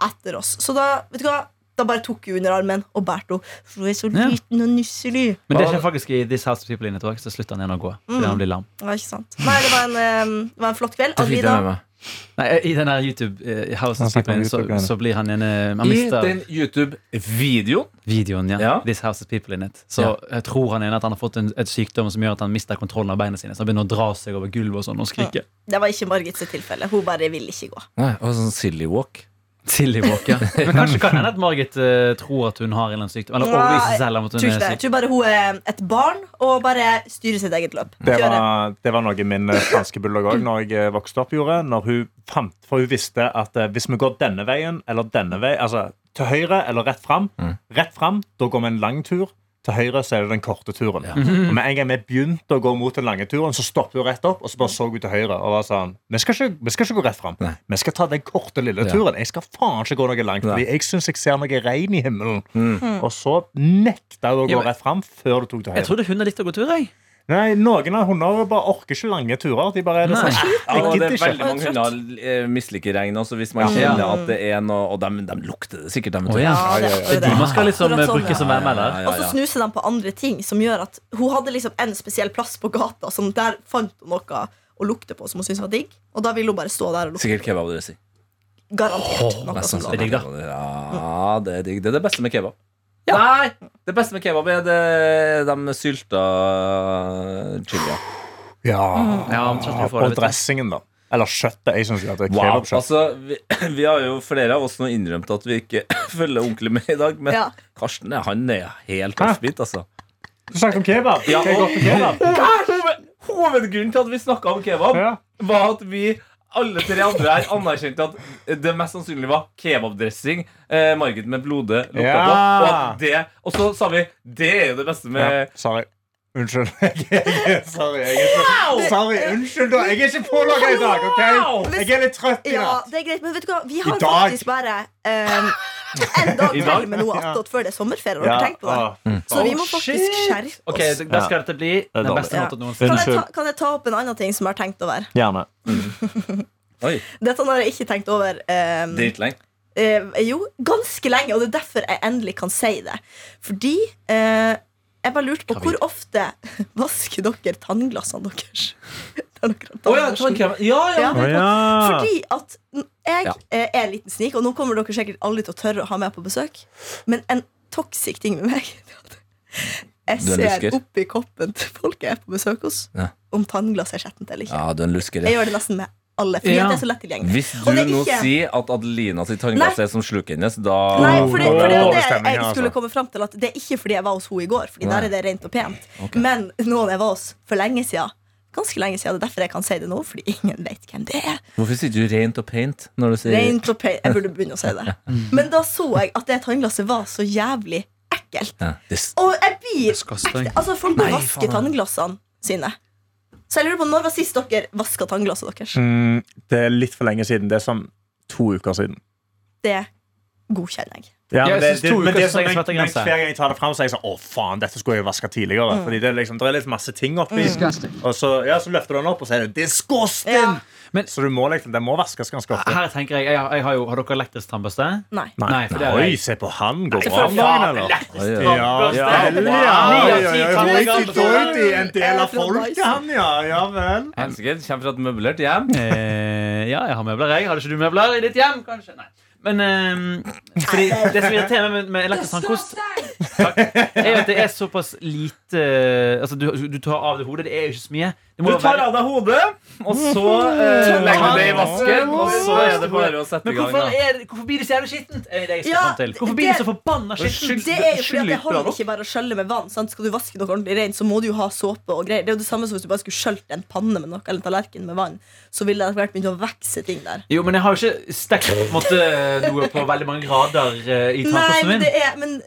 [SPEAKER 4] etter oss. Så da, vet du hva? da bare tok hun under armen og bærte henne. For hun er så
[SPEAKER 2] Ja.
[SPEAKER 4] liten og nusselig.
[SPEAKER 2] Men det skjer faktisk i This House of People Inne et år, så slutter han igjen å gå.
[SPEAKER 5] Mm.
[SPEAKER 2] Fordi han blir lam.
[SPEAKER 4] Ja, ikke sant? Nei, det var en, eh, det var en flott kveld.
[SPEAKER 3] Det fikk jeg med
[SPEAKER 4] Adelina,
[SPEAKER 3] meg.
[SPEAKER 2] Nei, I den her YouTube eh, House
[SPEAKER 5] Han
[SPEAKER 2] of
[SPEAKER 5] snakker
[SPEAKER 2] People
[SPEAKER 5] om
[SPEAKER 2] Inne så,
[SPEAKER 5] YouTube-greiene.
[SPEAKER 2] så blir han en eh, Han
[SPEAKER 3] I
[SPEAKER 2] mister
[SPEAKER 3] den YouTube-videoen
[SPEAKER 2] videoen, ja.
[SPEAKER 3] Ja.
[SPEAKER 2] This House of People in it. Så jeg tror han ene at han har fått en et sykdom som gjør at han mister kontrollen av beina sine. Så han begynner å dra seg over gulvet og sånn og skrike.
[SPEAKER 4] det var ikke Margits tilfelle. Hun bare ville ikke gå.
[SPEAKER 3] Nei, det var sånn silly walk.
[SPEAKER 2] Silly walk, ja. Men kanskje kan det hende at Margit eh, tror at hun har en eller annen sykdom. Eller overbeviser seg selv om at
[SPEAKER 4] Tror
[SPEAKER 2] hun
[SPEAKER 4] ikke
[SPEAKER 2] er syk.
[SPEAKER 4] det. Tror bare hun er et barn og bare styrer sitt eget løp.
[SPEAKER 5] Det
[SPEAKER 4] Kjører.
[SPEAKER 5] var, det var noe min eh, franske bulldog òg når jeg eh, vokste opp, gjorde. Når hun fant, for hun visste at eh, hvis vi går denne veien eller denne vei, altså til høyre eller rett fram,
[SPEAKER 3] Mm.
[SPEAKER 5] rett fram, da går vi en lang tur. Til høyre så er det den korte turen.
[SPEAKER 2] Mhm.
[SPEAKER 5] Og med en gang vi begynte å gå mot den lange turen, så stoppet hun rett opp og så bare så hun til høyre og var sånn Vi skal ikke, vi skal ikke gå rett fram.
[SPEAKER 3] Nei.
[SPEAKER 5] Vi skal ta den korte, lille
[SPEAKER 3] Ja.
[SPEAKER 5] turen. Jeg skal faen ikke gå noe langt,
[SPEAKER 3] Nei. Mm.
[SPEAKER 5] fordi jeg syns jeg ser noe regn i himmelen. Og så nekta hun å
[SPEAKER 2] Ja,
[SPEAKER 5] gå
[SPEAKER 2] men-
[SPEAKER 5] rett fram før du tok til høyre.
[SPEAKER 2] Jeg trodde hunder likte å gå tur, jeg.
[SPEAKER 5] Nei, Noen av hundene bare orker ikke lange turer. De bare er det
[SPEAKER 2] Nei.
[SPEAKER 5] sånn,
[SPEAKER 3] Ja,
[SPEAKER 5] «Ah, jeg
[SPEAKER 3] og det
[SPEAKER 5] gidder
[SPEAKER 3] er veldig
[SPEAKER 5] ikke.
[SPEAKER 3] mange hunder eh, misliker regn også, hvis man
[SPEAKER 2] Ja.
[SPEAKER 3] kjenner at det er noe Og de, lukter det sikkert, de. vet du.
[SPEAKER 2] Å, ja.
[SPEAKER 4] Ja, det,
[SPEAKER 2] Det er de man skal liksom eh,
[SPEAKER 4] Akkurat sånn,
[SPEAKER 2] bruke som
[SPEAKER 4] ja.
[SPEAKER 2] værmelder.
[SPEAKER 3] Ja,
[SPEAKER 4] Og så
[SPEAKER 3] ja.
[SPEAKER 4] snuser de på andre ting som gjør at hun hadde liksom en spesiell plass på gata. Som der fant hun noe å lukte på som hun syntes var digg. Og da ville hun bare stå der og lukte.
[SPEAKER 3] Sikkert kebabdressing.
[SPEAKER 4] Garantert noe
[SPEAKER 3] Nesten
[SPEAKER 4] som
[SPEAKER 3] sånn.
[SPEAKER 2] Det
[SPEAKER 4] ga
[SPEAKER 2] er digg, da.
[SPEAKER 3] Ja, det er digg. Det er det beste med kebab. Nei! Det beste med kebab er det, de sylta eh, chilia.
[SPEAKER 5] Ja,
[SPEAKER 2] Ja, omtrent du får
[SPEAKER 5] Og
[SPEAKER 2] det, vet du.
[SPEAKER 5] dressingen, da. Eller kjøttet. Jeg synes at det er
[SPEAKER 3] Wow.
[SPEAKER 5] kebabkjøtt.
[SPEAKER 3] Altså, vi, vi har jo flere av oss nå innrømt at vi ikke følger ordentlig med i dag, men
[SPEAKER 4] Ja.
[SPEAKER 3] Karsten er, han er helt
[SPEAKER 5] Hæ?
[SPEAKER 3] offbeat, altså.
[SPEAKER 5] Du snakket om kebab.
[SPEAKER 3] Ja,
[SPEAKER 5] Skal jeg gå
[SPEAKER 3] og-
[SPEAKER 5] på kebab?
[SPEAKER 3] Hoved, hovedgrunnen til at vi snakka om kebab,
[SPEAKER 5] Ja.
[SPEAKER 3] var at vi alle tre andre her anerkjente at det mest sannsynlig var kebabdressing eh, Margit med blodet lukta
[SPEAKER 5] Ja.
[SPEAKER 3] på. Og, at det, og så sa vi det er jo det beste med
[SPEAKER 5] Ja, sorry. Unnskyld. Jeg er- Sorry, jeg er ikke Sorry, unnskyld. da. Jeg er ikke pålogga i dag, OK? Jeg er litt trøtt i
[SPEAKER 4] Ja,
[SPEAKER 5] natt.
[SPEAKER 4] det er greit, men vet du hva? Vi har
[SPEAKER 5] I dag.
[SPEAKER 4] faktisk bare eh, en dag til med noe attåt før det er sommerferie. Har dere tenkt på det?
[SPEAKER 5] ah.
[SPEAKER 4] Så vi må
[SPEAKER 5] Oh,
[SPEAKER 4] faktisk
[SPEAKER 5] shit.
[SPEAKER 4] skjerpe oss.
[SPEAKER 2] Ok, Da skal dette bli den beste
[SPEAKER 4] Ja.
[SPEAKER 2] natta noensinne.
[SPEAKER 4] Kan jeg, ta, kan jeg ta opp en annen ting som jeg har tenkt over?
[SPEAKER 5] Gjerne.
[SPEAKER 3] Oi,
[SPEAKER 4] Dette har jeg ikke tenkt over. eh,
[SPEAKER 3] dritlenge.
[SPEAKER 4] Eh, jo, ganske lenge, og det er derfor jeg endelig kan si det. Fordi eh, jeg bare lurte på hvor ofte vasker dere tannglassene deres? Der dere har
[SPEAKER 3] Å ja,
[SPEAKER 4] tannbørsten.
[SPEAKER 3] tannkrem. Ja, ja.
[SPEAKER 4] Ja.
[SPEAKER 5] Å ja.
[SPEAKER 4] Fordi at n- jeg
[SPEAKER 3] Ja.
[SPEAKER 4] eh, er en liten snik, og nå kommer dere sikkert aldri til å tørre å ha meg på besøk, men en toxic ting med meg det er at jeg
[SPEAKER 3] Du er en
[SPEAKER 4] ser
[SPEAKER 3] lusker.
[SPEAKER 4] oppi koppen til folk jeg er på besøk hos,
[SPEAKER 3] Ja.
[SPEAKER 4] om tannglass er skjettent eller ikke.
[SPEAKER 3] Ja, du er en lusker.
[SPEAKER 4] Jeg
[SPEAKER 3] ja.
[SPEAKER 4] gjør det nesten med alle. Fordi
[SPEAKER 2] Ja.
[SPEAKER 4] at det er så lett tilgjengelig.
[SPEAKER 3] Hvis
[SPEAKER 4] Og
[SPEAKER 3] du
[SPEAKER 4] det er
[SPEAKER 3] nå
[SPEAKER 4] ikke-
[SPEAKER 3] sier at Adelina sitt tanngass
[SPEAKER 4] Nei.
[SPEAKER 3] er som sluket hennes, da
[SPEAKER 4] Nei, for det, for det var
[SPEAKER 5] Dårlig
[SPEAKER 4] det
[SPEAKER 5] stemning her,
[SPEAKER 4] jeg skulle
[SPEAKER 5] altså.
[SPEAKER 4] komme fram til. At det er ikke fordi jeg var hos henne i går, Fordi der er det rent og pent. Men noen jeg var hos for lenge siden. Ganske lenge siden. Det er derfor jeg kan si det nå, fordi ingen vet hvem det er.
[SPEAKER 3] Hvorfor sier du rent og paint når du sier
[SPEAKER 4] Rent og pent. Jeg burde begynne å si det.
[SPEAKER 3] Mm.
[SPEAKER 4] Men da så jeg at det tannglasset var så jævlig ekkelt.
[SPEAKER 3] Ja, det s-
[SPEAKER 4] Og jeg blir
[SPEAKER 2] Disgusting.
[SPEAKER 4] Altså, folk må
[SPEAKER 3] Nei,
[SPEAKER 4] vaske
[SPEAKER 3] faen.
[SPEAKER 4] tannglassene sine. Så jeg lurer på, når var sist dere vaska tannglasset deres?
[SPEAKER 5] Mm, det er litt for lenge siden. Det er sånn to uker siden.
[SPEAKER 4] Det godkjenner jeg.
[SPEAKER 5] Ja,
[SPEAKER 2] Jeg
[SPEAKER 5] men det,
[SPEAKER 2] synes
[SPEAKER 5] det,
[SPEAKER 2] to
[SPEAKER 5] men
[SPEAKER 2] uker
[SPEAKER 5] det er
[SPEAKER 2] synes
[SPEAKER 5] sånn,
[SPEAKER 2] jeg
[SPEAKER 5] men,
[SPEAKER 2] setter
[SPEAKER 5] men
[SPEAKER 2] grenser.
[SPEAKER 5] Hver gang jeg tar det fram, så er jeg sånn Å, faen, dette skulle jeg jo vaske tidligere. Fordi det er liksom, det er litt masse ting oppi. Og så, ja, så løfter du den opp, og så er det disgusting!
[SPEAKER 4] Ja.
[SPEAKER 2] Men-
[SPEAKER 5] så du må liksom, den må vaskes ganske ofte.
[SPEAKER 2] Her tenker jeg, jeg, har- jeg har, jo, har dere elektrisk tannbørste?
[SPEAKER 4] Nei.
[SPEAKER 2] Nei, for det er
[SPEAKER 5] Oi,
[SPEAKER 2] jeg.
[SPEAKER 5] se på han. Går
[SPEAKER 2] Nei,
[SPEAKER 5] bra
[SPEAKER 2] for
[SPEAKER 5] om dagen,
[SPEAKER 2] faen,
[SPEAKER 5] eller?
[SPEAKER 2] elektrisk
[SPEAKER 3] Oi, oi, oi.
[SPEAKER 5] Ja,
[SPEAKER 2] tannbørste.
[SPEAKER 5] ja,
[SPEAKER 2] Wow.
[SPEAKER 5] ja,
[SPEAKER 2] Ni av
[SPEAKER 5] ja,
[SPEAKER 2] ti
[SPEAKER 5] ja,
[SPEAKER 2] tannleger-
[SPEAKER 5] hoity-toity, En del av
[SPEAKER 4] Jeg er fra
[SPEAKER 5] folket,
[SPEAKER 4] Dyson.
[SPEAKER 5] han, ja. Ja vel.
[SPEAKER 3] Helsike, kommer fra et møblert hjem.
[SPEAKER 2] Eh, ja, jeg har møbler, jeg. Har ikke du møbler i ditt hjem, kanskje? Nei. Men eh, fordi det som irriterer meg med, med elektrisk tannkost,
[SPEAKER 7] Disgusting!
[SPEAKER 2] er jo at det er såpass lite Altså, du, du tar av det hodet. Det er jo ikke så mye. Det må
[SPEAKER 3] Du
[SPEAKER 2] jo
[SPEAKER 3] tar
[SPEAKER 2] være-
[SPEAKER 3] av deg hodet, og så eh, legger du det i vasken, og så er det bare å sette i
[SPEAKER 2] Men
[SPEAKER 3] gang.
[SPEAKER 2] hvorfor,
[SPEAKER 3] da.
[SPEAKER 2] er, det- hvorfor blir det så jævlig skittent? Er det det jeg skal
[SPEAKER 4] Ja,
[SPEAKER 2] fram til? Hvorfor
[SPEAKER 4] det-
[SPEAKER 2] blir det så forbanna skittent?
[SPEAKER 4] Det er jo fordi
[SPEAKER 3] Skyll
[SPEAKER 4] at
[SPEAKER 3] litt
[SPEAKER 4] det holder
[SPEAKER 3] bra, da.
[SPEAKER 4] ikke bare å skjølle med vann. Sant? Skal du vaske noe ordentlig rent, så må du jo ha såpe og greier. Det er jo det samme som hvis du bare skulle skjølt en panne med noe, eller en tallerken med vann. Så ville det etter hvert begynt å vokse ting der.
[SPEAKER 2] Jo, men jeg har jo ikke stekt på en måte, eh, noe på veldig mange grader eh, i
[SPEAKER 4] Nei,
[SPEAKER 2] tannkosten
[SPEAKER 4] men
[SPEAKER 2] min.
[SPEAKER 4] det er men,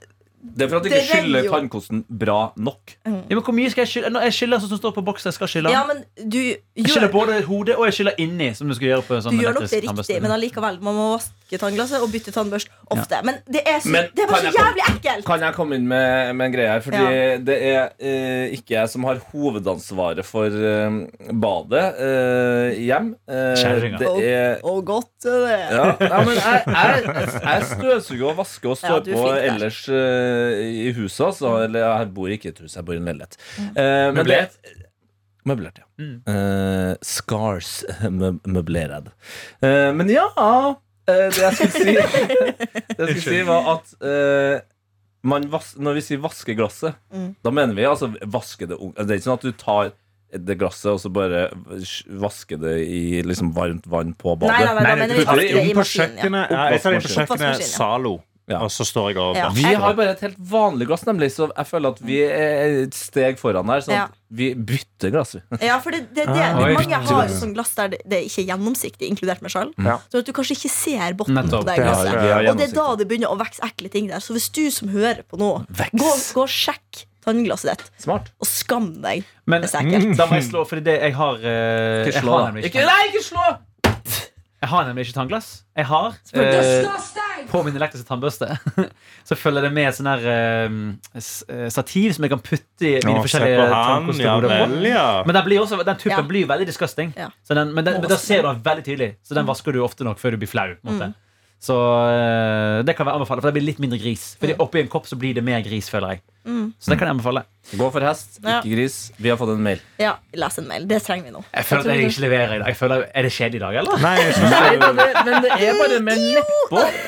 [SPEAKER 3] Det er for at du
[SPEAKER 4] Det
[SPEAKER 3] ikke skyller
[SPEAKER 4] renner jo.
[SPEAKER 3] tannkosten bra nok.
[SPEAKER 2] Ja, men hvor mye skal jeg skylle? Nå, Jeg skyller sånn som står på boksen. Jeg skal skylle.
[SPEAKER 4] Ja, men du
[SPEAKER 2] Jeg
[SPEAKER 4] gjør,
[SPEAKER 2] skyller både hodet og jeg skyller inni. Som du skal gjøre på en
[SPEAKER 4] du
[SPEAKER 2] sånn
[SPEAKER 4] gjør nok
[SPEAKER 2] elektrisk
[SPEAKER 4] det riktig,
[SPEAKER 2] tannbørste.
[SPEAKER 4] men allikevel. Man må vaske tannglasset og bytte tannbørst ofte. Men det er, så,
[SPEAKER 3] Men
[SPEAKER 4] det er
[SPEAKER 3] kan
[SPEAKER 4] bare
[SPEAKER 3] jeg
[SPEAKER 4] så jævlig ekkelt!
[SPEAKER 3] Kan jeg komme inn med, med en greie her? Fordi
[SPEAKER 4] Ja.
[SPEAKER 3] det er eh, ikke jeg som har hovedansvaret for eh, badet eh, hjem. Eh,
[SPEAKER 2] Kjerringa.
[SPEAKER 3] det er
[SPEAKER 4] Og godt er det.
[SPEAKER 3] ja, nei, men jeg, jeg, jeg støvsuger og vasker og står
[SPEAKER 4] Ja, du er
[SPEAKER 3] på
[SPEAKER 4] flink der. Mm.
[SPEAKER 3] ellers eh, i huset. Altså, eller jeg bor ikke i et hus, jeg bor i en leilighet. Eh, men det- Møblert, ja. Eh, scars mø møblerad. Eh, men ja eh, Det jeg skulle si, det jeg skulle si var at eh, man vas når vi sier vaske glasset,
[SPEAKER 4] Mm.
[SPEAKER 3] da mener vi altså vaske det ung- Det er ikke sånn at du tar det glasset og så bare vasker det i liksom varmt vann på badet.
[SPEAKER 4] Nei, nei, nei, da
[SPEAKER 5] Nei,
[SPEAKER 4] mener
[SPEAKER 5] du
[SPEAKER 4] vi
[SPEAKER 5] putter det
[SPEAKER 4] vaske det
[SPEAKER 5] inn
[SPEAKER 4] i
[SPEAKER 5] på
[SPEAKER 4] maskinen.
[SPEAKER 5] kjøkkenet. Ja, jeg tar det inn på
[SPEAKER 4] Oppvaskmaskinen,
[SPEAKER 5] kjøkkenet
[SPEAKER 4] ja.
[SPEAKER 5] Zalo,
[SPEAKER 3] Ja.
[SPEAKER 5] og så står jeg og
[SPEAKER 4] Ja.
[SPEAKER 3] Vi har bare et helt vanlig glass, nemlig, så jeg føler at vi er et steg foran her. Sånn at vi bytter glass. vi.
[SPEAKER 4] Ja, for det, det, det,
[SPEAKER 2] oi.
[SPEAKER 4] mange har jo sånn glass der det, det ikke er gjennomsiktig, inkludert meg sjøl.
[SPEAKER 5] Ja.
[SPEAKER 4] Så at du kanskje ikke ser bunnen på
[SPEAKER 2] Nettopp.
[SPEAKER 4] det
[SPEAKER 5] Det har
[SPEAKER 4] glasset.
[SPEAKER 5] jeg.
[SPEAKER 4] Og det er da det begynner å vokse ekle ting der. Så hvis du som hører på nå, gå, gå og sjekk tannglasset ditt,
[SPEAKER 3] Smart.
[SPEAKER 4] og skam deg.
[SPEAKER 2] Men
[SPEAKER 4] Hvis det er ekkelt.
[SPEAKER 2] da må jeg slå, fordi det jeg har eh, Jeg
[SPEAKER 3] slå,
[SPEAKER 2] har
[SPEAKER 3] da.
[SPEAKER 2] nemlig
[SPEAKER 3] Ikke-
[SPEAKER 2] ikke Nei, ikke slå! Jeg har nemlig ikke tannglass. Jeg har eh,
[SPEAKER 7] Disgusting!
[SPEAKER 2] på min elektriske tannbørste Så følger det med sånn her eh, s- eh, stativ som jeg kan putte i mine
[SPEAKER 5] Å, se
[SPEAKER 2] forskjellige
[SPEAKER 5] på han, ja
[SPEAKER 2] tannkostehoder på.
[SPEAKER 5] vel, ja.
[SPEAKER 2] Men den, blir også, den tuppen
[SPEAKER 4] Ja.
[SPEAKER 2] blir veldig disgusting.
[SPEAKER 4] Ja.
[SPEAKER 2] Så den, men, den, men da ser du den veldig tydelig, så den vasker du ofte nok før du blir flau. På en måte. Så eh, det kan jeg anbefale, for det blir litt mindre gris. Fordi oppi en kopp så blir det mer gris, føler jeg. Så det kan jeg anbefale.
[SPEAKER 3] Gå for hest,
[SPEAKER 4] Ja.
[SPEAKER 3] ikke gris. Vi har fått en mail.
[SPEAKER 4] Ja, les en mail. Det trenger vi nå.
[SPEAKER 2] Jeg føler at jeg ikke leverer i dag. Jeg føler, er det kjedelig i dag, eller?
[SPEAKER 5] Nei, jeg synes
[SPEAKER 3] Nei,
[SPEAKER 5] det-
[SPEAKER 3] men det, men det er bare med nedpå. Jeg tror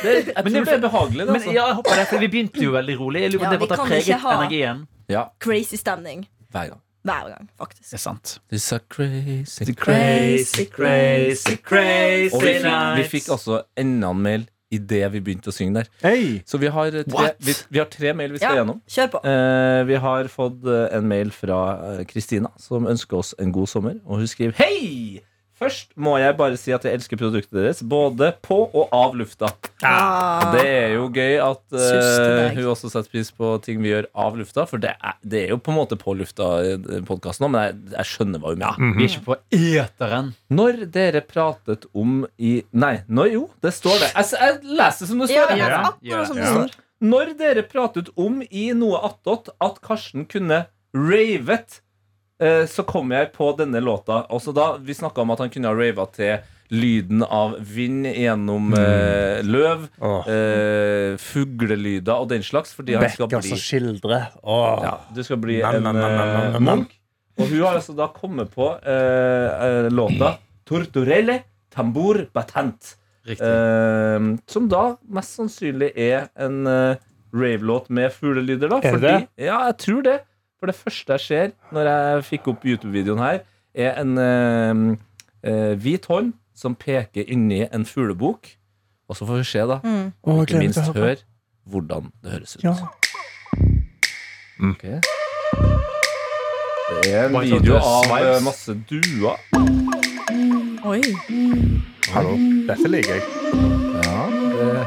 [SPEAKER 3] det er behagelig. Det,
[SPEAKER 2] Men
[SPEAKER 3] altså.
[SPEAKER 2] ja, jeg håper det, for Vi begynte jo veldig rolig. Jeg lurer på
[SPEAKER 4] Ja,
[SPEAKER 2] om det
[SPEAKER 4] vi
[SPEAKER 2] måtte ha
[SPEAKER 4] kan ikke
[SPEAKER 2] preget
[SPEAKER 4] ha-
[SPEAKER 2] energien.
[SPEAKER 3] Ja,
[SPEAKER 4] Crazy stemning
[SPEAKER 3] hver gang.
[SPEAKER 4] hver gang, faktisk.
[SPEAKER 2] Det er sant.
[SPEAKER 3] This are crazy,
[SPEAKER 4] Crazy, crazy, crazy
[SPEAKER 3] Og vi fikk, vi fikk altså enda en mail idet vi begynte å synge der.
[SPEAKER 5] Hei.
[SPEAKER 3] Så vi har tre,
[SPEAKER 2] What?
[SPEAKER 3] vi, vi har tre mail vi skal
[SPEAKER 4] Ja,
[SPEAKER 3] gjennom.
[SPEAKER 4] kjør på.
[SPEAKER 3] Eh, vi har fått eh, en mail fra eh, Kristina, som ønsker oss en god sommer. Og hun skriver Hei! Først må jeg bare si at jeg elsker produktet deres, både på og av lufta. Og det er jo gøy at eh,
[SPEAKER 4] Søster deg.
[SPEAKER 3] hun også setter pris på ting vi gjør av lufta, for det er, det er jo på en måte på lufta-podkasten nå, men jeg, jeg skjønner hva hun mener.
[SPEAKER 2] Vi er ikke på eteren.
[SPEAKER 3] Når dere pratet om i Nei, nå jo, det står det. Jeg, s- jeg leser som det
[SPEAKER 4] Ja,
[SPEAKER 3] står. jeg.
[SPEAKER 4] ja,
[SPEAKER 2] Ja, ja,
[SPEAKER 4] akkurat som det
[SPEAKER 5] ja.
[SPEAKER 4] står.
[SPEAKER 3] Når dere pratet om i noe attåt at Karsten kunne ravet, eh, så kom jeg på denne låta. Også da Vi snakka om at han kunne ha rava til lyden av vind gjennom eh, løv,
[SPEAKER 5] Åh.
[SPEAKER 3] eh, fuglelyder og den slags, fordi han skal
[SPEAKER 5] Becker
[SPEAKER 3] bli
[SPEAKER 5] som skildrer. altså Åh.
[SPEAKER 3] ja, Du skal bli
[SPEAKER 5] Nam,
[SPEAKER 3] en
[SPEAKER 5] nam, nam, nam,
[SPEAKER 3] eh,
[SPEAKER 5] nam, nam.
[SPEAKER 3] munk. Og hun har altså da kommet på eh, eh, låta Tortorelle Tambour Batant.
[SPEAKER 2] Riktig.
[SPEAKER 3] Eh, som da mest sannsynlig er en eh, rave-låt med fuglelyder. da
[SPEAKER 5] det
[SPEAKER 3] fordi,
[SPEAKER 5] det?
[SPEAKER 3] Ja, jeg tror det. For det første jeg ser når jeg fikk opp YouTube-videoen her, er en eh, eh, hvit hånd som peker inni en fuglebok. Og så får vi se, da.
[SPEAKER 5] Å, jeg
[SPEAKER 3] Ikke
[SPEAKER 5] gleder meg
[SPEAKER 3] minst
[SPEAKER 5] til å høre på.
[SPEAKER 3] hør hvordan det høres ut.
[SPEAKER 5] Ja.
[SPEAKER 3] Ok. Mm. Det er en
[SPEAKER 2] White
[SPEAKER 3] video
[SPEAKER 2] Lotus
[SPEAKER 3] av
[SPEAKER 2] vibes.
[SPEAKER 3] eh, masse duer.
[SPEAKER 4] Oi.
[SPEAKER 5] Hallo. Dette liker jeg.
[SPEAKER 3] Det,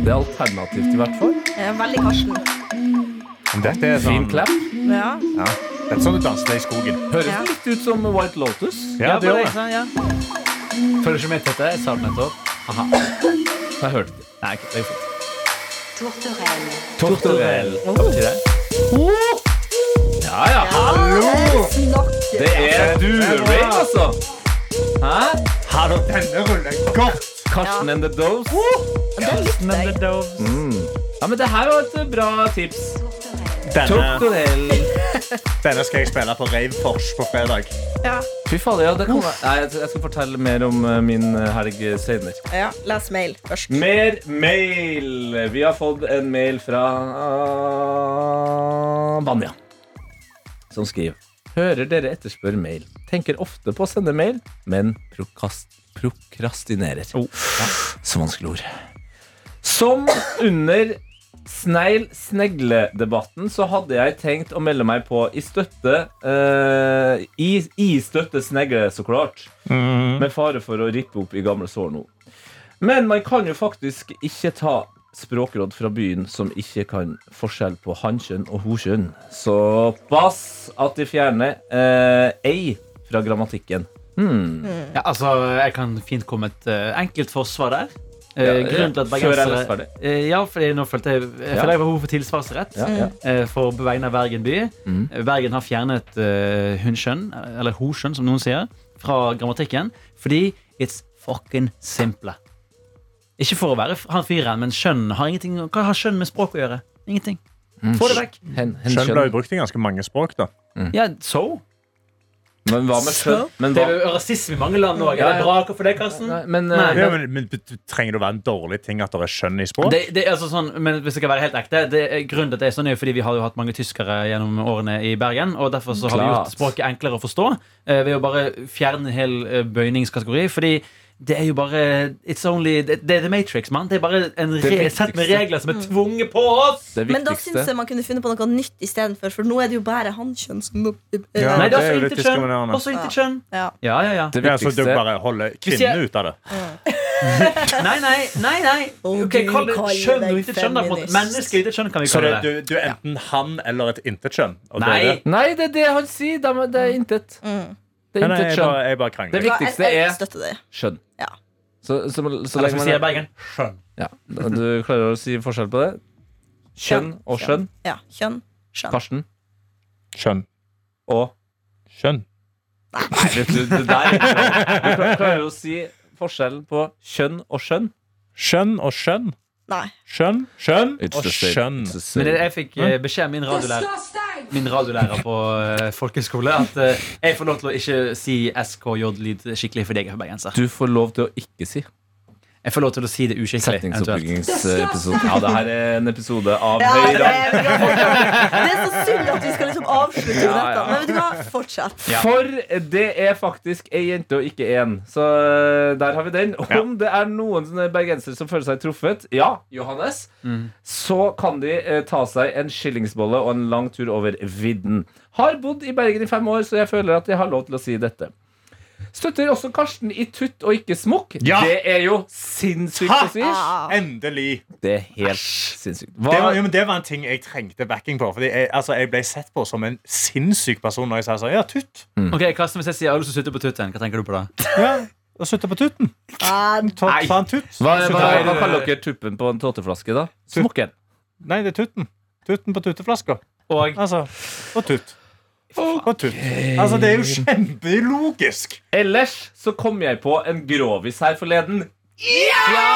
[SPEAKER 3] det er alternativt, i hvert fall.
[SPEAKER 4] Jeg er Eh, veldig Karsten.
[SPEAKER 5] Dette er sånn,
[SPEAKER 3] Fin clap.
[SPEAKER 4] Ja.
[SPEAKER 5] ja. Dette er sånn du danser i skogen.
[SPEAKER 3] Høres
[SPEAKER 4] Ja.
[SPEAKER 3] litt ut som White Lotus.
[SPEAKER 5] Ja,
[SPEAKER 2] bare
[SPEAKER 5] det gjør det.
[SPEAKER 2] ikke sant, ja. Følger ikke med til dette. Jeg sa det nettopp. Aha. Jeg hørte det. Nei, ikke- det er fint. Tortorell. Hva betyr det?
[SPEAKER 3] Oh! Ja, ja. Hallo! Det er duering, altså. Hæ?
[SPEAKER 5] Hallo, denne ruller godt.
[SPEAKER 3] Karsten and the Doves. Mm. Ja, men det her var et eh, bra tips.
[SPEAKER 5] Denne,
[SPEAKER 3] Tortorell.
[SPEAKER 5] denne skal jeg spille på Rave Fors på fredag.
[SPEAKER 4] ja.
[SPEAKER 3] Fy fader, ja, det kan være. Nei, jeg, jeg skal fortelle mer om eh, min eh, helg senere.
[SPEAKER 4] ja. Les mail først.
[SPEAKER 3] Mer mail! Vi har fått en mail fra ah, Vanja, som skriver Hører dere etterspør mail. Tenker ofte på å sende mail, men prokast prokrastinerer. Ja, så vanskelig ord. Som under snegl-snegle-debatten så hadde jeg tenkt å melde meg på i støtte eh, i, i støtte snegle, så klart. Med fare for å rippe opp i gamle sår nå. Men man kan jo faktisk ikke ta språkråd fra byen som ikke kan forskjell på hankjønn og hokjønn. Så pass at de fjerner eh, ei fra grammatikken.
[SPEAKER 2] Ja, altså, jeg kan fint komme et eh, enkelt forsvar der. Eh,
[SPEAKER 3] Ja, ja.
[SPEAKER 2] grunnen til at
[SPEAKER 3] Før jeg
[SPEAKER 2] bergensere
[SPEAKER 3] er ferdig.
[SPEAKER 2] Eh, Ja, fordi nå følte jeg, jeg, følte jeg var behov for tilsvarsrett.
[SPEAKER 3] Ja, ja. Mm.
[SPEAKER 2] eh, for på vegne av Bergen by. Eh, Bergen har fjernet uh, hunskjønn, eller hoskjønn som noen sier, fra grammatikken. Fordi it's fucking simple. Ikke for å være f- han fyren, men skjønn har ingenting Hva har skjønn med språk å gjøre? Ingenting.
[SPEAKER 3] Mm.
[SPEAKER 2] Få det
[SPEAKER 4] Mm.
[SPEAKER 2] vekk.
[SPEAKER 3] Hen,
[SPEAKER 5] Skjønn ble jo
[SPEAKER 3] henkjønn.
[SPEAKER 5] brukt i ganske mange språk, da.
[SPEAKER 3] Mm.
[SPEAKER 2] Ja, so?
[SPEAKER 3] Men hva med skjønn? Men
[SPEAKER 2] Det
[SPEAKER 3] hva?
[SPEAKER 2] er jo rasisme i mange land òg.
[SPEAKER 3] Ja,
[SPEAKER 2] Er
[SPEAKER 3] ja.
[SPEAKER 2] det bra for deg, Karsten?
[SPEAKER 3] Nei, men, eh,
[SPEAKER 2] Nei.
[SPEAKER 5] Ja, men, men bet- Trenger det å være en dårlig ting at det er skjønn i språk?
[SPEAKER 2] Det, det er altså sånn, men hvis jeg skal være helt ekte det er Grunnen til at det er sånn er jo fordi vi har jo hatt mange tyskere gjennom årene i Bergen. Og derfor så har vi
[SPEAKER 3] Klart.
[SPEAKER 2] gjort språket enklere å forstå eh, ved å bare fjerne en hel eh, bøyningskategori. Fordi det er jo bare It's only Det, det er The Matrix, mann. Det er bare en
[SPEAKER 3] Det
[SPEAKER 2] re, et sett med
[SPEAKER 3] viktigste.
[SPEAKER 2] regler som er tvunget på oss!
[SPEAKER 3] det
[SPEAKER 4] Men da syns
[SPEAKER 3] viktigste
[SPEAKER 4] jeg man kunne funnet på noe nytt istedenfor, for nå er det jo bare hankjønn som
[SPEAKER 2] Nei,
[SPEAKER 5] Ja.
[SPEAKER 2] det
[SPEAKER 5] det er
[SPEAKER 2] er
[SPEAKER 5] jo
[SPEAKER 2] også
[SPEAKER 5] litt
[SPEAKER 2] intet kjønn.
[SPEAKER 5] diskriminerende.
[SPEAKER 2] Også intet kjønn.
[SPEAKER 4] Ja.
[SPEAKER 2] Ja, ja, ja.
[SPEAKER 3] det
[SPEAKER 5] Ja, så du
[SPEAKER 3] viktigste,
[SPEAKER 5] bare holder
[SPEAKER 2] Hvis jeg-
[SPEAKER 5] kvinnene ut av det?
[SPEAKER 2] Nei, nei, nei. nei.
[SPEAKER 4] Å,
[SPEAKER 2] Ok,
[SPEAKER 4] Gud,
[SPEAKER 2] kall det
[SPEAKER 4] kall
[SPEAKER 2] kjønn og
[SPEAKER 4] deg
[SPEAKER 2] intet kjønn. da, på en måte.
[SPEAKER 4] feminist.
[SPEAKER 2] Menneske og intet kjønn kan vi
[SPEAKER 5] Så det,
[SPEAKER 2] kalle
[SPEAKER 5] du,
[SPEAKER 2] det.
[SPEAKER 5] du er enten han eller et intetkjønn? og det er
[SPEAKER 2] Nei.
[SPEAKER 5] det?
[SPEAKER 3] Nei, det er det han sier. Det er, det
[SPEAKER 4] Mm.
[SPEAKER 3] er intet. Det er
[SPEAKER 5] Nei, nei,
[SPEAKER 3] intet
[SPEAKER 5] jeg
[SPEAKER 3] skjønn.
[SPEAKER 5] bare, jeg bare
[SPEAKER 3] Det
[SPEAKER 5] krangler.
[SPEAKER 3] viktigste
[SPEAKER 4] jeg
[SPEAKER 3] er
[SPEAKER 4] støtter det.
[SPEAKER 3] skjønn.
[SPEAKER 4] Ja.
[SPEAKER 3] Så, så, så
[SPEAKER 2] Eller
[SPEAKER 3] lenge
[SPEAKER 2] skal
[SPEAKER 3] man
[SPEAKER 2] vi si i
[SPEAKER 3] er-
[SPEAKER 2] Bergen? Skjønn.
[SPEAKER 3] ja, Du klarer å si forskjell på det? Kjønn og skjønn.
[SPEAKER 4] Ja. Kjønn. Skjønn.
[SPEAKER 3] Karsten
[SPEAKER 5] Skjønn.
[SPEAKER 3] og
[SPEAKER 5] Skjønn.
[SPEAKER 3] Vet du, det der er ikke sant. Du klar- klarer jo å si forskjellen på kjønn og skjønn.
[SPEAKER 5] Skjønn og skjønn.
[SPEAKER 4] Nei.
[SPEAKER 5] Skjønn, skjønn og skjønn.
[SPEAKER 2] Men jeg fikk eh, beskjed av min radiolærer
[SPEAKER 7] Disgusting!
[SPEAKER 2] min radiolærer på uh, folkeskole at eh, jeg får lov til å ikke si SKJ-lyd skikkelig fordi jeg er bergenser.
[SPEAKER 3] Du får lov til å ikke si
[SPEAKER 2] Jeg får lov til å si det uskikkelig. eventuelt.
[SPEAKER 3] setningsoppbyggingsepisode. Ja, det her er en episode av
[SPEAKER 4] Ja, det,
[SPEAKER 3] Høyre.
[SPEAKER 4] er bra forklart. det er så synd at vi skal liksom avslutte med
[SPEAKER 3] Ja, ja.
[SPEAKER 4] dette. Men vet du hva, fortsett.
[SPEAKER 3] For det er faktisk ei jente og ikke én. Så eh, der har vi den. Om det er noen sånne bergensere som føler seg truffet, ja, Johannes, så kan de eh, ta seg en skillingsbolle og en lang tur over vidden. Har bodd i Bergen i fem år, så jeg føler at jeg har lov til å si dette. Støtter også Karsten i tutt og ikke smokk.
[SPEAKER 5] Ja.
[SPEAKER 3] Det er jo sinnssykt å si.
[SPEAKER 4] Ja.
[SPEAKER 5] Endelig!
[SPEAKER 3] Det er helt sinnssykt.
[SPEAKER 5] Det var,
[SPEAKER 3] Hva,
[SPEAKER 5] jo, men det var en ting jeg trengte backing på. Fordi jeg, altså, jeg ble sett på som en sinnssyk person når jeg sa sånn, ja, tutt.
[SPEAKER 2] Ok, Karsten, Hvis jeg sier 'jeg har lyst til å slutte på tutten', hva tenker du på da?
[SPEAKER 5] Ja, og slutte på tutten.
[SPEAKER 4] Men
[SPEAKER 5] Ta, ta en tutt.
[SPEAKER 3] hva,
[SPEAKER 5] Slutt
[SPEAKER 3] hva,
[SPEAKER 5] på-
[SPEAKER 3] hva kaller dere tuppen på en tåteflaske, da? Smokken.
[SPEAKER 5] Nei, det er tutten. Tutten på tutteflaska.
[SPEAKER 2] Og
[SPEAKER 5] Altså, og tutt. Og tutt. Altså, det er jo kjempelogisk.
[SPEAKER 3] Ellers så kom jeg på en grovis her forleden. Ja!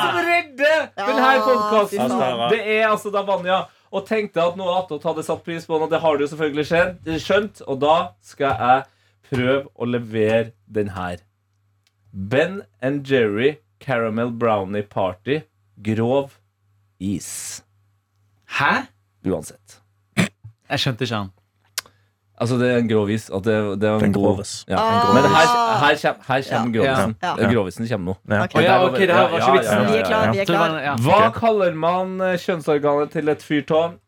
[SPEAKER 3] Som redder den her
[SPEAKER 4] Ja, fy
[SPEAKER 3] podkasten!
[SPEAKER 5] faen.
[SPEAKER 3] Det er altså da Vanja. Og tenkte at noe attåt hadde satt pris på den, og det har du jo selvfølgelig skjønt. skjønt. Og da skal jeg prøve å levere den her. Ben and Jerry Caramel Brownie Party. Grov is.
[SPEAKER 2] hæ?
[SPEAKER 3] Uansett.
[SPEAKER 2] Jeg skjønte ikke han.
[SPEAKER 3] Altså, det er en grovis. At det, det er en
[SPEAKER 5] Den
[SPEAKER 3] god-
[SPEAKER 5] grovis.
[SPEAKER 3] Ja,
[SPEAKER 4] Ah.
[SPEAKER 3] en grovis. Men her, her kommer, her kommer grovisen.
[SPEAKER 4] Ja.
[SPEAKER 3] Eh, Grovisen kommer nå.
[SPEAKER 5] Ja.
[SPEAKER 4] Ok.
[SPEAKER 2] ja, ok, det her var ikke vitsen.
[SPEAKER 4] Vi er klar, vi er
[SPEAKER 2] Så det var-
[SPEAKER 4] klar.
[SPEAKER 2] ja.
[SPEAKER 3] Hva kaller man eh, kjønnsorganet til et fyrtårn?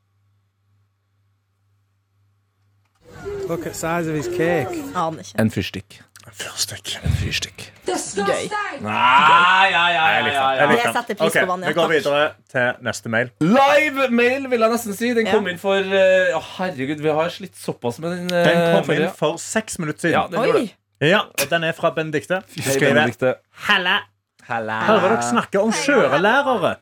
[SPEAKER 8] Look at size of his cake.
[SPEAKER 4] Aner ikke.
[SPEAKER 3] En fyrstikk.
[SPEAKER 5] Fyrstikk.
[SPEAKER 3] Fyrstikk.
[SPEAKER 7] Disgusting!
[SPEAKER 3] Ah, ja, ja, ja, ja, ja.
[SPEAKER 4] Det setter pris
[SPEAKER 5] Ok,
[SPEAKER 4] på, Vanja.
[SPEAKER 5] Vi
[SPEAKER 4] Takk.
[SPEAKER 5] går videre til neste mail.
[SPEAKER 3] Live-mail, vil jeg nesten si. Den
[SPEAKER 4] Ja.
[SPEAKER 3] kom inn for eh, Å, herregud, vi har slitt såpass med den. eh,
[SPEAKER 5] Den kom inn
[SPEAKER 3] forrige.
[SPEAKER 5] for seks minutter
[SPEAKER 3] Ja,
[SPEAKER 5] siden.
[SPEAKER 3] den gjorde
[SPEAKER 4] Oi!
[SPEAKER 3] det.
[SPEAKER 5] Ja, og Den er fra Benedicte.
[SPEAKER 3] Hei,
[SPEAKER 5] Skriver
[SPEAKER 3] Benedikte.
[SPEAKER 5] Halla. Hører dere snakke om kjørelærere?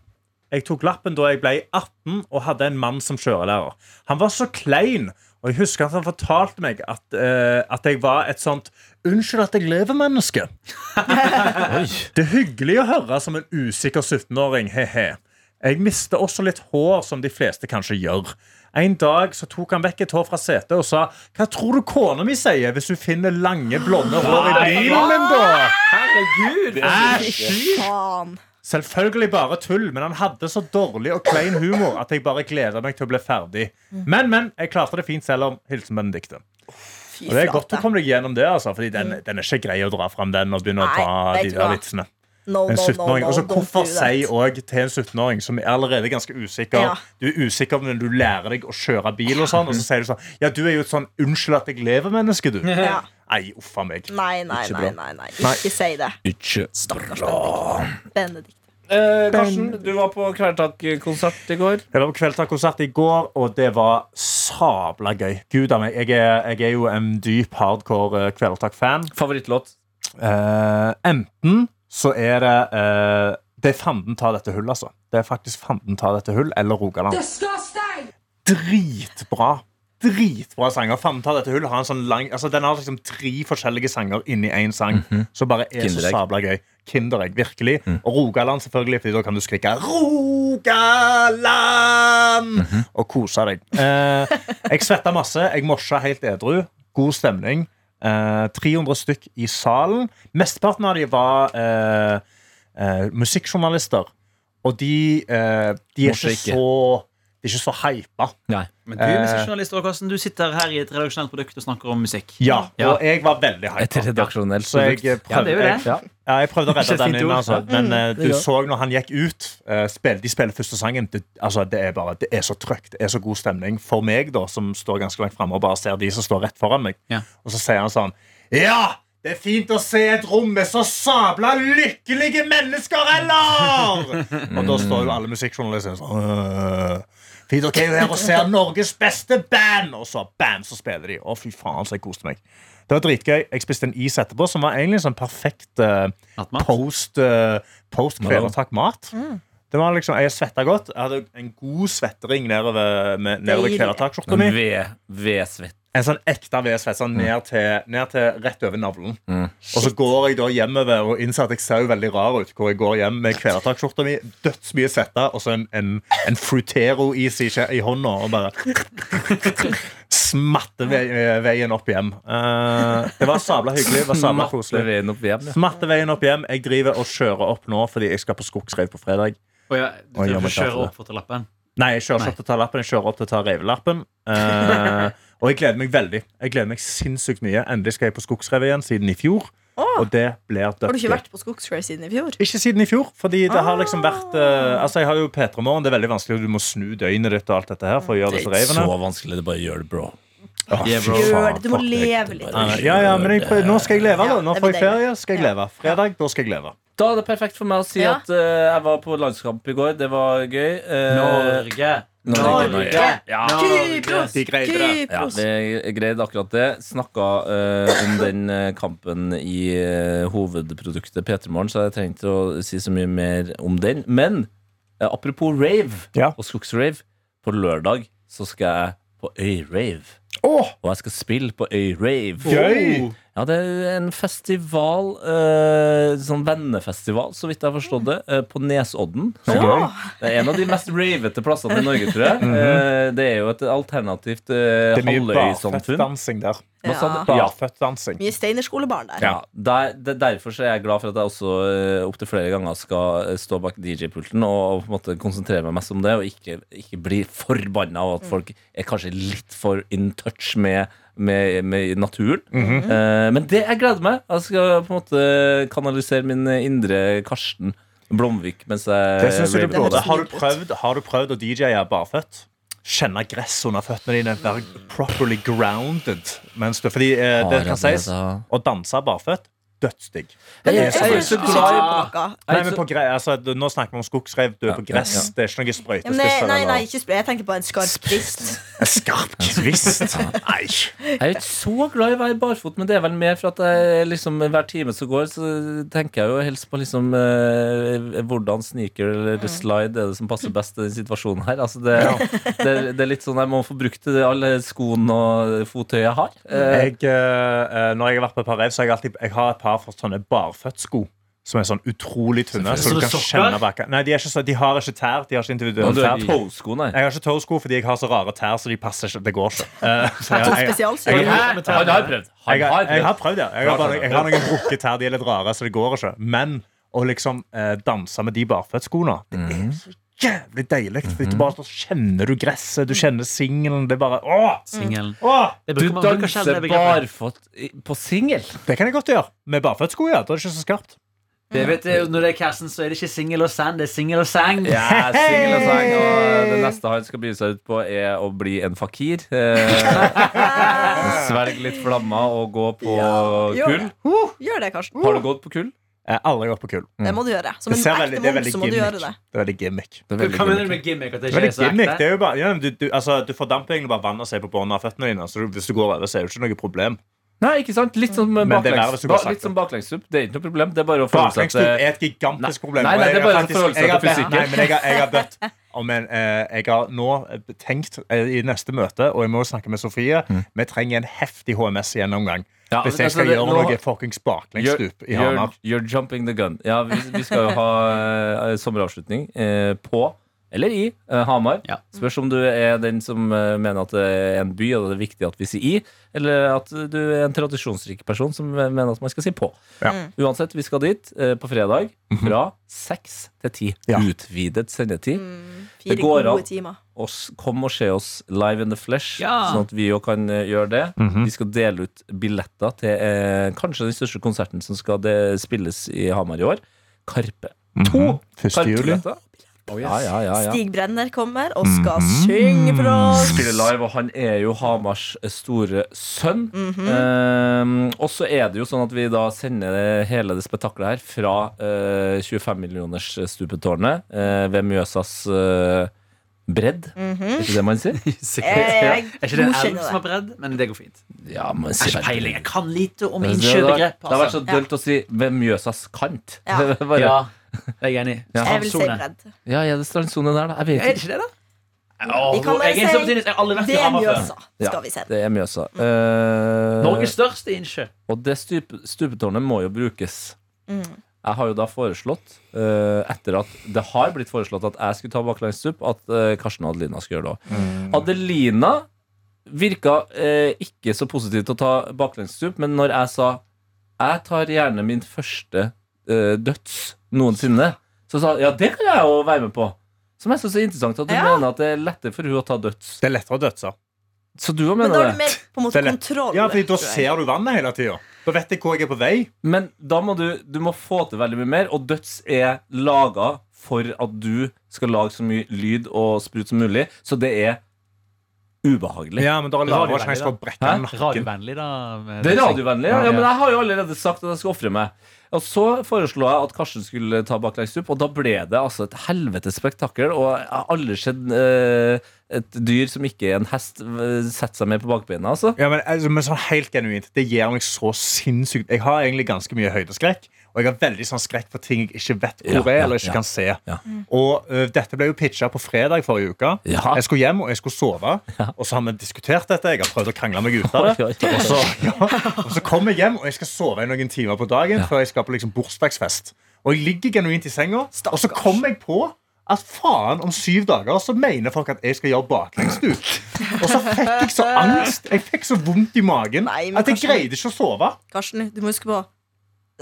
[SPEAKER 5] Jeg tok lappen da jeg ble 18 og hadde en mann som kjørelærer. Han var så klein, og jeg husker at han fortalte meg at, eh, at jeg var et sånt 'unnskyld at jeg lever'-menneske. Det er hyggelig å høre som en usikker 17-åring, he-he. Jeg mister også litt hår, som de fleste kanskje gjør. En dag så tok han vekk et hår fra setet og sa 'Hva tror du kona mi sier hvis hun finner lange, blonde hår i bilen min', da?
[SPEAKER 3] Herregud!
[SPEAKER 5] Æsj!
[SPEAKER 4] Faen.
[SPEAKER 5] Selvfølgelig bare tull, men han hadde så dårlig og klein humor at jeg bare gleda meg til å bli ferdig.
[SPEAKER 4] Mm.
[SPEAKER 5] Men, men, jeg klarte det fint selv om Hilsen Benedicte.
[SPEAKER 4] Fy
[SPEAKER 5] Og det er godt du
[SPEAKER 4] flate. Mm.
[SPEAKER 5] kom deg gjennom det, altså, Fordi den, den er ikke grei å dra fram, den, og begynne
[SPEAKER 4] Nei,
[SPEAKER 5] å ta
[SPEAKER 4] vet
[SPEAKER 5] de
[SPEAKER 4] du
[SPEAKER 5] der
[SPEAKER 4] hva?
[SPEAKER 5] vitsene.
[SPEAKER 4] No, no,
[SPEAKER 5] En
[SPEAKER 4] no,
[SPEAKER 5] 17-åring.
[SPEAKER 4] no,
[SPEAKER 5] Og så
[SPEAKER 4] don't do
[SPEAKER 5] hvorfor
[SPEAKER 4] that.
[SPEAKER 5] si òg til en 17-åring som er allerede ganske usikker
[SPEAKER 4] Ja.
[SPEAKER 5] Du er usikker, men du lærer deg å kjøre bil, og sånn, og så sier du sånn Ja, du er jo et sånn 'unnskyld at jeg lever'-menneske, du.
[SPEAKER 4] Ja.
[SPEAKER 5] Nei, uff a meg.
[SPEAKER 4] Nei, nei,
[SPEAKER 5] Ikke
[SPEAKER 4] nei,
[SPEAKER 5] bra.
[SPEAKER 4] nei, nei. Ikke si det.
[SPEAKER 3] Ikke
[SPEAKER 4] Stakkars Benedikt. Benedikt.
[SPEAKER 3] Eh, Karsten, du var på Kvelertak-konsert i går.
[SPEAKER 5] Jeg var på Kveldtak-konsert i går, og det var sabla gøy. Gud av meg, jeg er, jeg er jo en dyp hardcore eh, Kvelertak-fan.
[SPEAKER 3] Favorittlåt?
[SPEAKER 5] Eh, enten så er det eh, Det er fanden ta dette hull, altså. Det er faktisk fanden ta dette hull eller Rogaland.
[SPEAKER 7] Disgusting!
[SPEAKER 5] Dritbra. Dritbra sanger. Fanden ta dette hull har en sånn lang altså, Den har liksom tre forskjellige sanger inni én sang, som bare er
[SPEAKER 3] Mhm. Kinderegg. Mhm.
[SPEAKER 5] så sabla gøy. Kinderegg, virkelig. Og Rogaland, selvfølgelig, Fordi da kan du skrike 'Rogaland'
[SPEAKER 3] Mhm.
[SPEAKER 5] og kose deg. Eh, jeg svetta masse. Jeg morsa helt edru. God stemning. Eh, 300 stykk i salen. Mesteparten av de var eh, eh, musikkjournalister. Og de, eh, de, er
[SPEAKER 3] Morsa
[SPEAKER 5] ikke
[SPEAKER 3] ikke.
[SPEAKER 5] så, de er ikke så hypa.
[SPEAKER 3] Nei.
[SPEAKER 2] Men du, musikkjournalist Åre Karsten, du sitter her i et redaksjonelt produkt og snakker om musikk.
[SPEAKER 5] Ja,
[SPEAKER 2] Ja.
[SPEAKER 5] og jeg var veldig
[SPEAKER 3] Et
[SPEAKER 5] hypa.
[SPEAKER 3] redaksjonelt
[SPEAKER 5] Så jeg
[SPEAKER 3] produkt.
[SPEAKER 2] Ja, det er jo
[SPEAKER 5] prøvde,
[SPEAKER 2] det.
[SPEAKER 5] jeg, ja, jeg prøvde å redde
[SPEAKER 2] Ikke et
[SPEAKER 5] den
[SPEAKER 2] fint
[SPEAKER 5] inn,
[SPEAKER 2] ord.
[SPEAKER 5] altså. men eh,
[SPEAKER 3] er
[SPEAKER 5] du
[SPEAKER 3] godt.
[SPEAKER 5] så når han gikk ut eh, spill, De spiller første sangen. Det, altså, det, er bare, det er så trøkt. Det er så god stemning for meg, da, som står ganske langt framme og bare ser de som står rett foran meg.
[SPEAKER 2] Ja.
[SPEAKER 5] Og så sier han sånn Ja! Det er fint å se et rom med så sabla lykkelige mennesker, eller?! Og da står jo alle musikkjournalistene sånn øh, Fint, ok, her og ser Norges beste band! Og så bam, så spiller de. Å, fy faen, så jeg koste meg. Det var dritgøy. Jeg spiste en is etterpå, som var egentlig en sånn perfekt eh,
[SPEAKER 2] Nattmat.
[SPEAKER 5] post, uh, post kvelertak-mat. Det var liksom, Jeg svetta godt. Jeg hadde en god svettering nedover, med- nedover
[SPEAKER 4] Deilig.
[SPEAKER 5] kvelertakskjorta mi.
[SPEAKER 3] Ved- Vedsvett.
[SPEAKER 5] En sånn ekte VSV, sånn ned, til, ned til rett over navlen. Og så går jeg da hjemover og innser at jeg ser jo veldig rar ut. Hvor jeg går hjem med kvelertakskjorta mi, dødsmye svette og så en, en, en Frutero-is i, kje- i hånda og bare Smatte ve veien opp hjem. Eh, det var sabla hyggelig. Det var sabla
[SPEAKER 3] Matte
[SPEAKER 5] Mm, koselig.
[SPEAKER 3] veien opp hjem. Ja.
[SPEAKER 5] Smatte veien opp hjem. Jeg driver og kjører opp nå fordi jeg skal på skogsrev på fredag.
[SPEAKER 2] Og ja, du
[SPEAKER 5] Oi, jeg må
[SPEAKER 2] du
[SPEAKER 5] ta
[SPEAKER 2] kjører
[SPEAKER 5] det.
[SPEAKER 2] opp for lappen.
[SPEAKER 5] Nei, jeg kjører
[SPEAKER 2] Nei.
[SPEAKER 5] ikke opp til å ta lappen, jeg kjører opp til å ta revelappen. Eh, og jeg gleder meg veldig. Jeg gleder meg sinnssykt mye. Endelig skal jeg på skogsrev igjen, siden i fjor. Og det blir dødt.
[SPEAKER 4] Har du ikke vært Ah! på Skogsfjell siden i fjor?
[SPEAKER 5] Ikke siden i fjor, fordi det har liksom vært eh, Altså, jeg har jo P3 Morgen, det er veldig vanskelig, og du må snu døgnet ditt og alt dette her for å gjøre disse reivene.
[SPEAKER 3] vanskelig. Det bare gjør det, bro.
[SPEAKER 5] Å,
[SPEAKER 2] Yeah,
[SPEAKER 5] fy
[SPEAKER 2] bro.
[SPEAKER 5] faen,
[SPEAKER 4] Gjør det, du må
[SPEAKER 5] fuck deg.
[SPEAKER 4] leve litt.
[SPEAKER 5] Nei, nei, Eh, Ja, ja, men jeg, prøver- nå skal jeg leve,
[SPEAKER 4] Ja,
[SPEAKER 5] da. Nå
[SPEAKER 4] det
[SPEAKER 5] får
[SPEAKER 4] blir
[SPEAKER 5] jeg ferie, skal jeg leve. Fredag, da skal jeg leve.
[SPEAKER 3] Da er det perfekt for meg å si
[SPEAKER 4] Ja.
[SPEAKER 3] at eh, jeg var på landskamp i går. Det var gøy. Eh,
[SPEAKER 2] Norge.
[SPEAKER 3] Norge, Norge.
[SPEAKER 2] Ja.
[SPEAKER 4] Kypros!
[SPEAKER 5] De greide det.
[SPEAKER 3] Ja,
[SPEAKER 4] Kypros!
[SPEAKER 3] vi greide akkurat det. Snakka eh, om den eh, kampen i eh, hovedproduktet P3 Morgen, så jeg trengte å si så mye mer om den. Men eh, apropos rave
[SPEAKER 5] Ja.
[SPEAKER 3] og skogsrave. På lørdag så skal jeg på Øyrave.
[SPEAKER 5] Åh,
[SPEAKER 3] Og jeg skal spille på Øyrave.
[SPEAKER 5] gøy!
[SPEAKER 3] Ja, det er en festival, eh, sånn vennefestival, så vidt jeg har forstått det, eh, på Nesodden. Det er en av de mest ravete plassene i Norge, tror jeg. Eh, det er jo et alternativt eh,
[SPEAKER 5] Mhm. Det er mye
[SPEAKER 3] halvøysamfunn.
[SPEAKER 5] barfettdansing der.
[SPEAKER 4] Ja.
[SPEAKER 5] Barføttdansing.
[SPEAKER 4] Mye steinerskolebarn der.
[SPEAKER 3] Ja, der, det, Derfor så er jeg glad for at jeg også eh, opptil flere ganger skal eh, stå bak DJ-pulten og, og på en måte konsentrere meg mest om det, og ikke, ikke bli forbanna
[SPEAKER 5] Mm.
[SPEAKER 3] av at folk er kanskje litt for in touch med, med, med naturen.
[SPEAKER 5] Mhm.
[SPEAKER 3] Eh, men det jeg gleder meg. Jeg skal på en måte kanalisere min eh, indre Karsten Blomvik mens jeg
[SPEAKER 5] Det synes jeg du
[SPEAKER 3] raver.
[SPEAKER 5] burde.
[SPEAKER 4] høres
[SPEAKER 5] Har du
[SPEAKER 4] lurt ut.
[SPEAKER 5] prøvd, har du prøvd å DJ-e barføtt? Kjenne gress under føttene dine, være properly grounded. Mens du, fordi eh, det
[SPEAKER 3] Har jeg
[SPEAKER 5] kan sies,
[SPEAKER 3] det,
[SPEAKER 5] å danse barføtt, dødsdigg.
[SPEAKER 3] Jeg
[SPEAKER 4] Jeg
[SPEAKER 3] er så- jeg er så
[SPEAKER 4] husker
[SPEAKER 3] glad i-
[SPEAKER 4] ikke noe.
[SPEAKER 5] Nei, men på gre altså, du- nå snakker vi om skogsrev, du er
[SPEAKER 3] Ja,
[SPEAKER 5] på gress.
[SPEAKER 3] ja, ja.
[SPEAKER 5] Det er ikke noe
[SPEAKER 4] Ja, men nei,
[SPEAKER 5] sprøytespisser.
[SPEAKER 4] nei, nei, ikke spray. Jeg tenker på en skarp brist.
[SPEAKER 5] Skarp kvist! Nei.
[SPEAKER 3] Jeg er jo ikke så glad i å være barfot, men det er vel mer for at jeg liksom hver time som går, så tenker jeg jo helst på liksom eh, hvordan sneaker
[SPEAKER 5] Mm.
[SPEAKER 3] eller slide er det som passer best til den situasjonen her. Altså det, det, det er litt sånn jeg må få brukt det, alle skoene og fottøyet jeg har. Eh,
[SPEAKER 5] Jeg, eh, eh, når jeg har vært på et par rev, så har jeg alltid jeg har et par for sånne barføttsko. Som er sånn utrolig tynne. Så du
[SPEAKER 2] Sånne
[SPEAKER 5] kan
[SPEAKER 2] sokker?
[SPEAKER 5] kjenne bak. Nei, de, er ikke så, de har ikke tær. De har
[SPEAKER 3] og
[SPEAKER 5] ikke individuelle
[SPEAKER 3] du
[SPEAKER 5] tær.
[SPEAKER 3] er toe-sko, nei.
[SPEAKER 5] Jeg har ikke tåsko fordi jeg har så rare tær, så de passer ikke. Det går ikke. Eh, så jeg,
[SPEAKER 4] To
[SPEAKER 5] jeg, jeg,
[SPEAKER 4] spesialsko.
[SPEAKER 5] jeg-
[SPEAKER 2] Hæ? Han har prøvd.
[SPEAKER 5] jeg,
[SPEAKER 3] Han har
[SPEAKER 5] jeg har
[SPEAKER 3] prøvd.
[SPEAKER 5] prøvd, ja. Jeg har, bare, jeg har noen brukket tær. De er litt rare, så det går ikke. Men å liksom eh, danse med de barføttskoene, det
[SPEAKER 4] Mhm.
[SPEAKER 5] er så jævlig deilig. Fordi du bare så kjenner du gresset, du kjenner singelen. Det er bare åh,
[SPEAKER 2] Singelen.
[SPEAKER 5] åh!
[SPEAKER 2] Det
[SPEAKER 3] Du
[SPEAKER 2] bruker man- bruker sjelden
[SPEAKER 3] danser
[SPEAKER 2] det begrepet.
[SPEAKER 3] barfot i- på singel.
[SPEAKER 5] Det kan jeg godt gjøre. Med barføttsko, ja. Da er det ikke så skarpt.
[SPEAKER 2] Det vet jeg, jo, når det er Karsten, så er det ikke singel og sang, det er singel og sang.
[SPEAKER 3] Ja, singel og sang. Og det neste han skal bry seg ut på, er å bli en fakir. Eh, Svelg litt flammer og gå på
[SPEAKER 4] Gjør
[SPEAKER 3] kull.
[SPEAKER 4] det. Gjør det, Karsten.
[SPEAKER 3] Har du gått på kull?
[SPEAKER 5] Jeg har aldri gått på kull.
[SPEAKER 4] Det må du gjøre. Som
[SPEAKER 5] Det,
[SPEAKER 4] en
[SPEAKER 5] ser veldig,
[SPEAKER 4] ekte
[SPEAKER 5] det er
[SPEAKER 4] munk
[SPEAKER 5] veldig
[SPEAKER 4] så må du gjøre
[SPEAKER 5] gimmick.
[SPEAKER 4] det.
[SPEAKER 5] Det er veldig gimmick.
[SPEAKER 2] Hva mener du med gimmick? At det
[SPEAKER 5] Det
[SPEAKER 2] ikke er
[SPEAKER 5] er
[SPEAKER 2] så
[SPEAKER 5] veldig gimmick. Det
[SPEAKER 2] ekte?
[SPEAKER 5] er jo bare, ja, men du, du, altså, du fordamper egentlig bare vann og ser på båndet av føttene dine. Så du, hvis du går over, så er det jo ikke noe problem.
[SPEAKER 3] Nei, ikke sant? Litt som
[SPEAKER 5] Men det er verre hvis
[SPEAKER 3] baklengs
[SPEAKER 5] du går
[SPEAKER 3] ba,
[SPEAKER 5] sakte.
[SPEAKER 3] Litt som baklengsstup. Det er ikke noe problem. Det er bare å forholde seg
[SPEAKER 5] Baklengsstup
[SPEAKER 3] til
[SPEAKER 5] er et gigantisk
[SPEAKER 3] eh, Nei,
[SPEAKER 5] problem.
[SPEAKER 3] nei,
[SPEAKER 5] og
[SPEAKER 3] nei,
[SPEAKER 5] jeg
[SPEAKER 3] det er
[SPEAKER 5] har
[SPEAKER 3] bare
[SPEAKER 5] faktisk-
[SPEAKER 3] forholde seg
[SPEAKER 5] jeg har
[SPEAKER 3] til
[SPEAKER 5] bedt-
[SPEAKER 3] fysikken.
[SPEAKER 5] Nei, men jeg har, jeg har bedt om en eh, Jeg har nå tenkt eh, i neste møte, og jeg må snakke med Sofie, vi trenger en heftig HMS-gjennomgang.
[SPEAKER 3] Mm. Ja,
[SPEAKER 5] Hvis
[SPEAKER 3] men
[SPEAKER 5] jeg skal
[SPEAKER 3] altså, det-
[SPEAKER 5] gjøre
[SPEAKER 3] nå-
[SPEAKER 5] noe fuckings
[SPEAKER 3] You're,
[SPEAKER 5] baklengsstup i
[SPEAKER 3] you're,
[SPEAKER 5] Hamar.
[SPEAKER 3] you're jumping the gun. Ja, vi, vi skal jo ha eh, sommeravslutning eh, på, eller i, eh, Hamar.
[SPEAKER 2] Ja.
[SPEAKER 3] Spørs om du er den som eh, mener at det er en by, og det er viktig at vi sier i, eller at du er en tradisjonsrik person som eh, mener at man skal si på.
[SPEAKER 5] Ja. Mhm.
[SPEAKER 3] Uansett, vi skal dit eh, på fredag fra seks til ti.
[SPEAKER 5] Ja.
[SPEAKER 3] Utvidet sendetid.
[SPEAKER 4] Fire
[SPEAKER 3] Det går an.
[SPEAKER 4] gode timer.
[SPEAKER 3] og s- kom og se oss live in the flesh,
[SPEAKER 2] Ja.
[SPEAKER 3] sånn at vi òg kan eh, gjøre det. Vi skal dele ut billetter til eh, kanskje den største konserten som skal det spilles i Hamar i år. Karpe. To Karpe-billetter. Ja, ja, ja, ja.
[SPEAKER 4] Stig Brenner kommer og skal synge for oss.
[SPEAKER 3] Spiller live, og han er jo Hamars eh, store sønn. eh, og så er det jo sånn at vi da sender det- hele det spetakkelet her fra eh, 25-millioners-stupetårnet eh, ved Mjøsas eh, bredd, er ikke det man sier?
[SPEAKER 2] Er ikke det en
[SPEAKER 4] godkjenner
[SPEAKER 2] elv som er bredd? Men det går fint.
[SPEAKER 3] Ja, man
[SPEAKER 2] Jeg har
[SPEAKER 3] sier
[SPEAKER 2] ikke peiling. Jeg kan lite om
[SPEAKER 3] Men
[SPEAKER 2] innkjøpegrep.
[SPEAKER 3] Det har vært så
[SPEAKER 4] Ja.
[SPEAKER 3] dølt å si ved Mjøsas kant.
[SPEAKER 4] Ja.
[SPEAKER 3] Det er
[SPEAKER 2] altså.
[SPEAKER 3] bare,
[SPEAKER 2] Ja,
[SPEAKER 3] ja.
[SPEAKER 2] det er jeg enig i.
[SPEAKER 4] Jeg vil si
[SPEAKER 2] Strandsone.
[SPEAKER 4] bredd.
[SPEAKER 3] er det strandsone der, da? Jeg
[SPEAKER 2] Er det
[SPEAKER 3] vet ikke.
[SPEAKER 2] ikke det, da? Åh,
[SPEAKER 4] Vi kan bare
[SPEAKER 2] jeg er
[SPEAKER 4] si-
[SPEAKER 2] så betydelig, jeg har aldri vært
[SPEAKER 4] Det
[SPEAKER 2] i
[SPEAKER 4] er
[SPEAKER 2] Hamar før.
[SPEAKER 4] Mjøsa, skal vi se.
[SPEAKER 3] Ja, det er Mjøsa. Eh,
[SPEAKER 2] Norges største innsjø.
[SPEAKER 3] og det stup, stupetårnet må jo brukes.
[SPEAKER 4] Mm.
[SPEAKER 3] Jeg har jo da foreslått, eh, etter at det har blitt foreslått at jeg skulle ta baklengsstup, at eh, Karsten og Adelina skulle gjøre det òg. Adelina virka eh, ikke så positiv til å ta baklengsstup, men når jeg sa jeg tar gjerne min første eh, døds noensinne, så sa hun ja, det kan jeg jo være med på. Som jeg syns er interessant, at hun
[SPEAKER 4] Ja.
[SPEAKER 3] mener at det er lettere for hun å ta døds.
[SPEAKER 5] Det er lettere å dødse.
[SPEAKER 3] Så du òg
[SPEAKER 4] Men da
[SPEAKER 3] mener
[SPEAKER 4] har
[SPEAKER 3] det?
[SPEAKER 4] du mer på en
[SPEAKER 5] Det
[SPEAKER 4] måte
[SPEAKER 5] er lett.
[SPEAKER 4] kontroll.
[SPEAKER 5] Ja, fordi da
[SPEAKER 4] tror jeg.
[SPEAKER 5] ser du vannet hele tida. Da vet jeg hvor jeg er på vei.
[SPEAKER 3] Men da må du, du må få til veldig mye mer, og døds er laga for at du skal lage så mye lyd og sprut som mulig, så det er ubehagelig.
[SPEAKER 5] Ja, men da er lavere
[SPEAKER 2] Radiovennlig,
[SPEAKER 5] sjanse for å brekke
[SPEAKER 3] Hæ?
[SPEAKER 5] nakken.
[SPEAKER 2] Radiovennlig, da. med-
[SPEAKER 3] Det er radiovennlig, ja.
[SPEAKER 2] Ja,
[SPEAKER 3] ja. Men
[SPEAKER 2] ja.
[SPEAKER 3] jeg har jo allerede sagt at jeg skal ofre meg. Og så foreslo jeg at Karsten skulle ta baklengsstup, og da ble det altså et helvetes spektakel. Og jeg har aldri sett eh, et dyr som ikke er en hest, eh, sette seg mer på bakbeina, altså.
[SPEAKER 5] Ja, men, altså, men sånn helt genuint, det gir meg så sinnssykt Jeg har egentlig ganske mye høydeskrekk, og jeg har veldig sånn skrekk for ting jeg ikke vet hvor
[SPEAKER 3] Ja,
[SPEAKER 5] er,
[SPEAKER 3] ja,
[SPEAKER 5] eller ikke
[SPEAKER 3] ja.
[SPEAKER 5] kan se.
[SPEAKER 3] Ja.
[SPEAKER 5] Og ø, dette ble jo pitcha på fredag forrige uke.
[SPEAKER 3] Ja.
[SPEAKER 5] Jeg skulle hjem, og jeg skulle sove, og så har vi diskutert dette. Jeg har prøvd å krangle meg ut av det.
[SPEAKER 3] Oi, oi, oi.
[SPEAKER 5] Og så, ja, og så kommer jeg hjem, og jeg skal sove i noen timer på dagen før jeg skal på liksom bursdagsfest. Og jeg ligger genuint i senga, og så kommer jeg på at faen, om syv dager så mener folk at jeg skal gjøre baklengs ut. Og så fikk jeg så angst. Jeg fikk så vondt i magen
[SPEAKER 4] Nei, men
[SPEAKER 5] at jeg
[SPEAKER 4] kanskje-
[SPEAKER 5] greide ikke å sove.
[SPEAKER 4] Karsten, du må huske på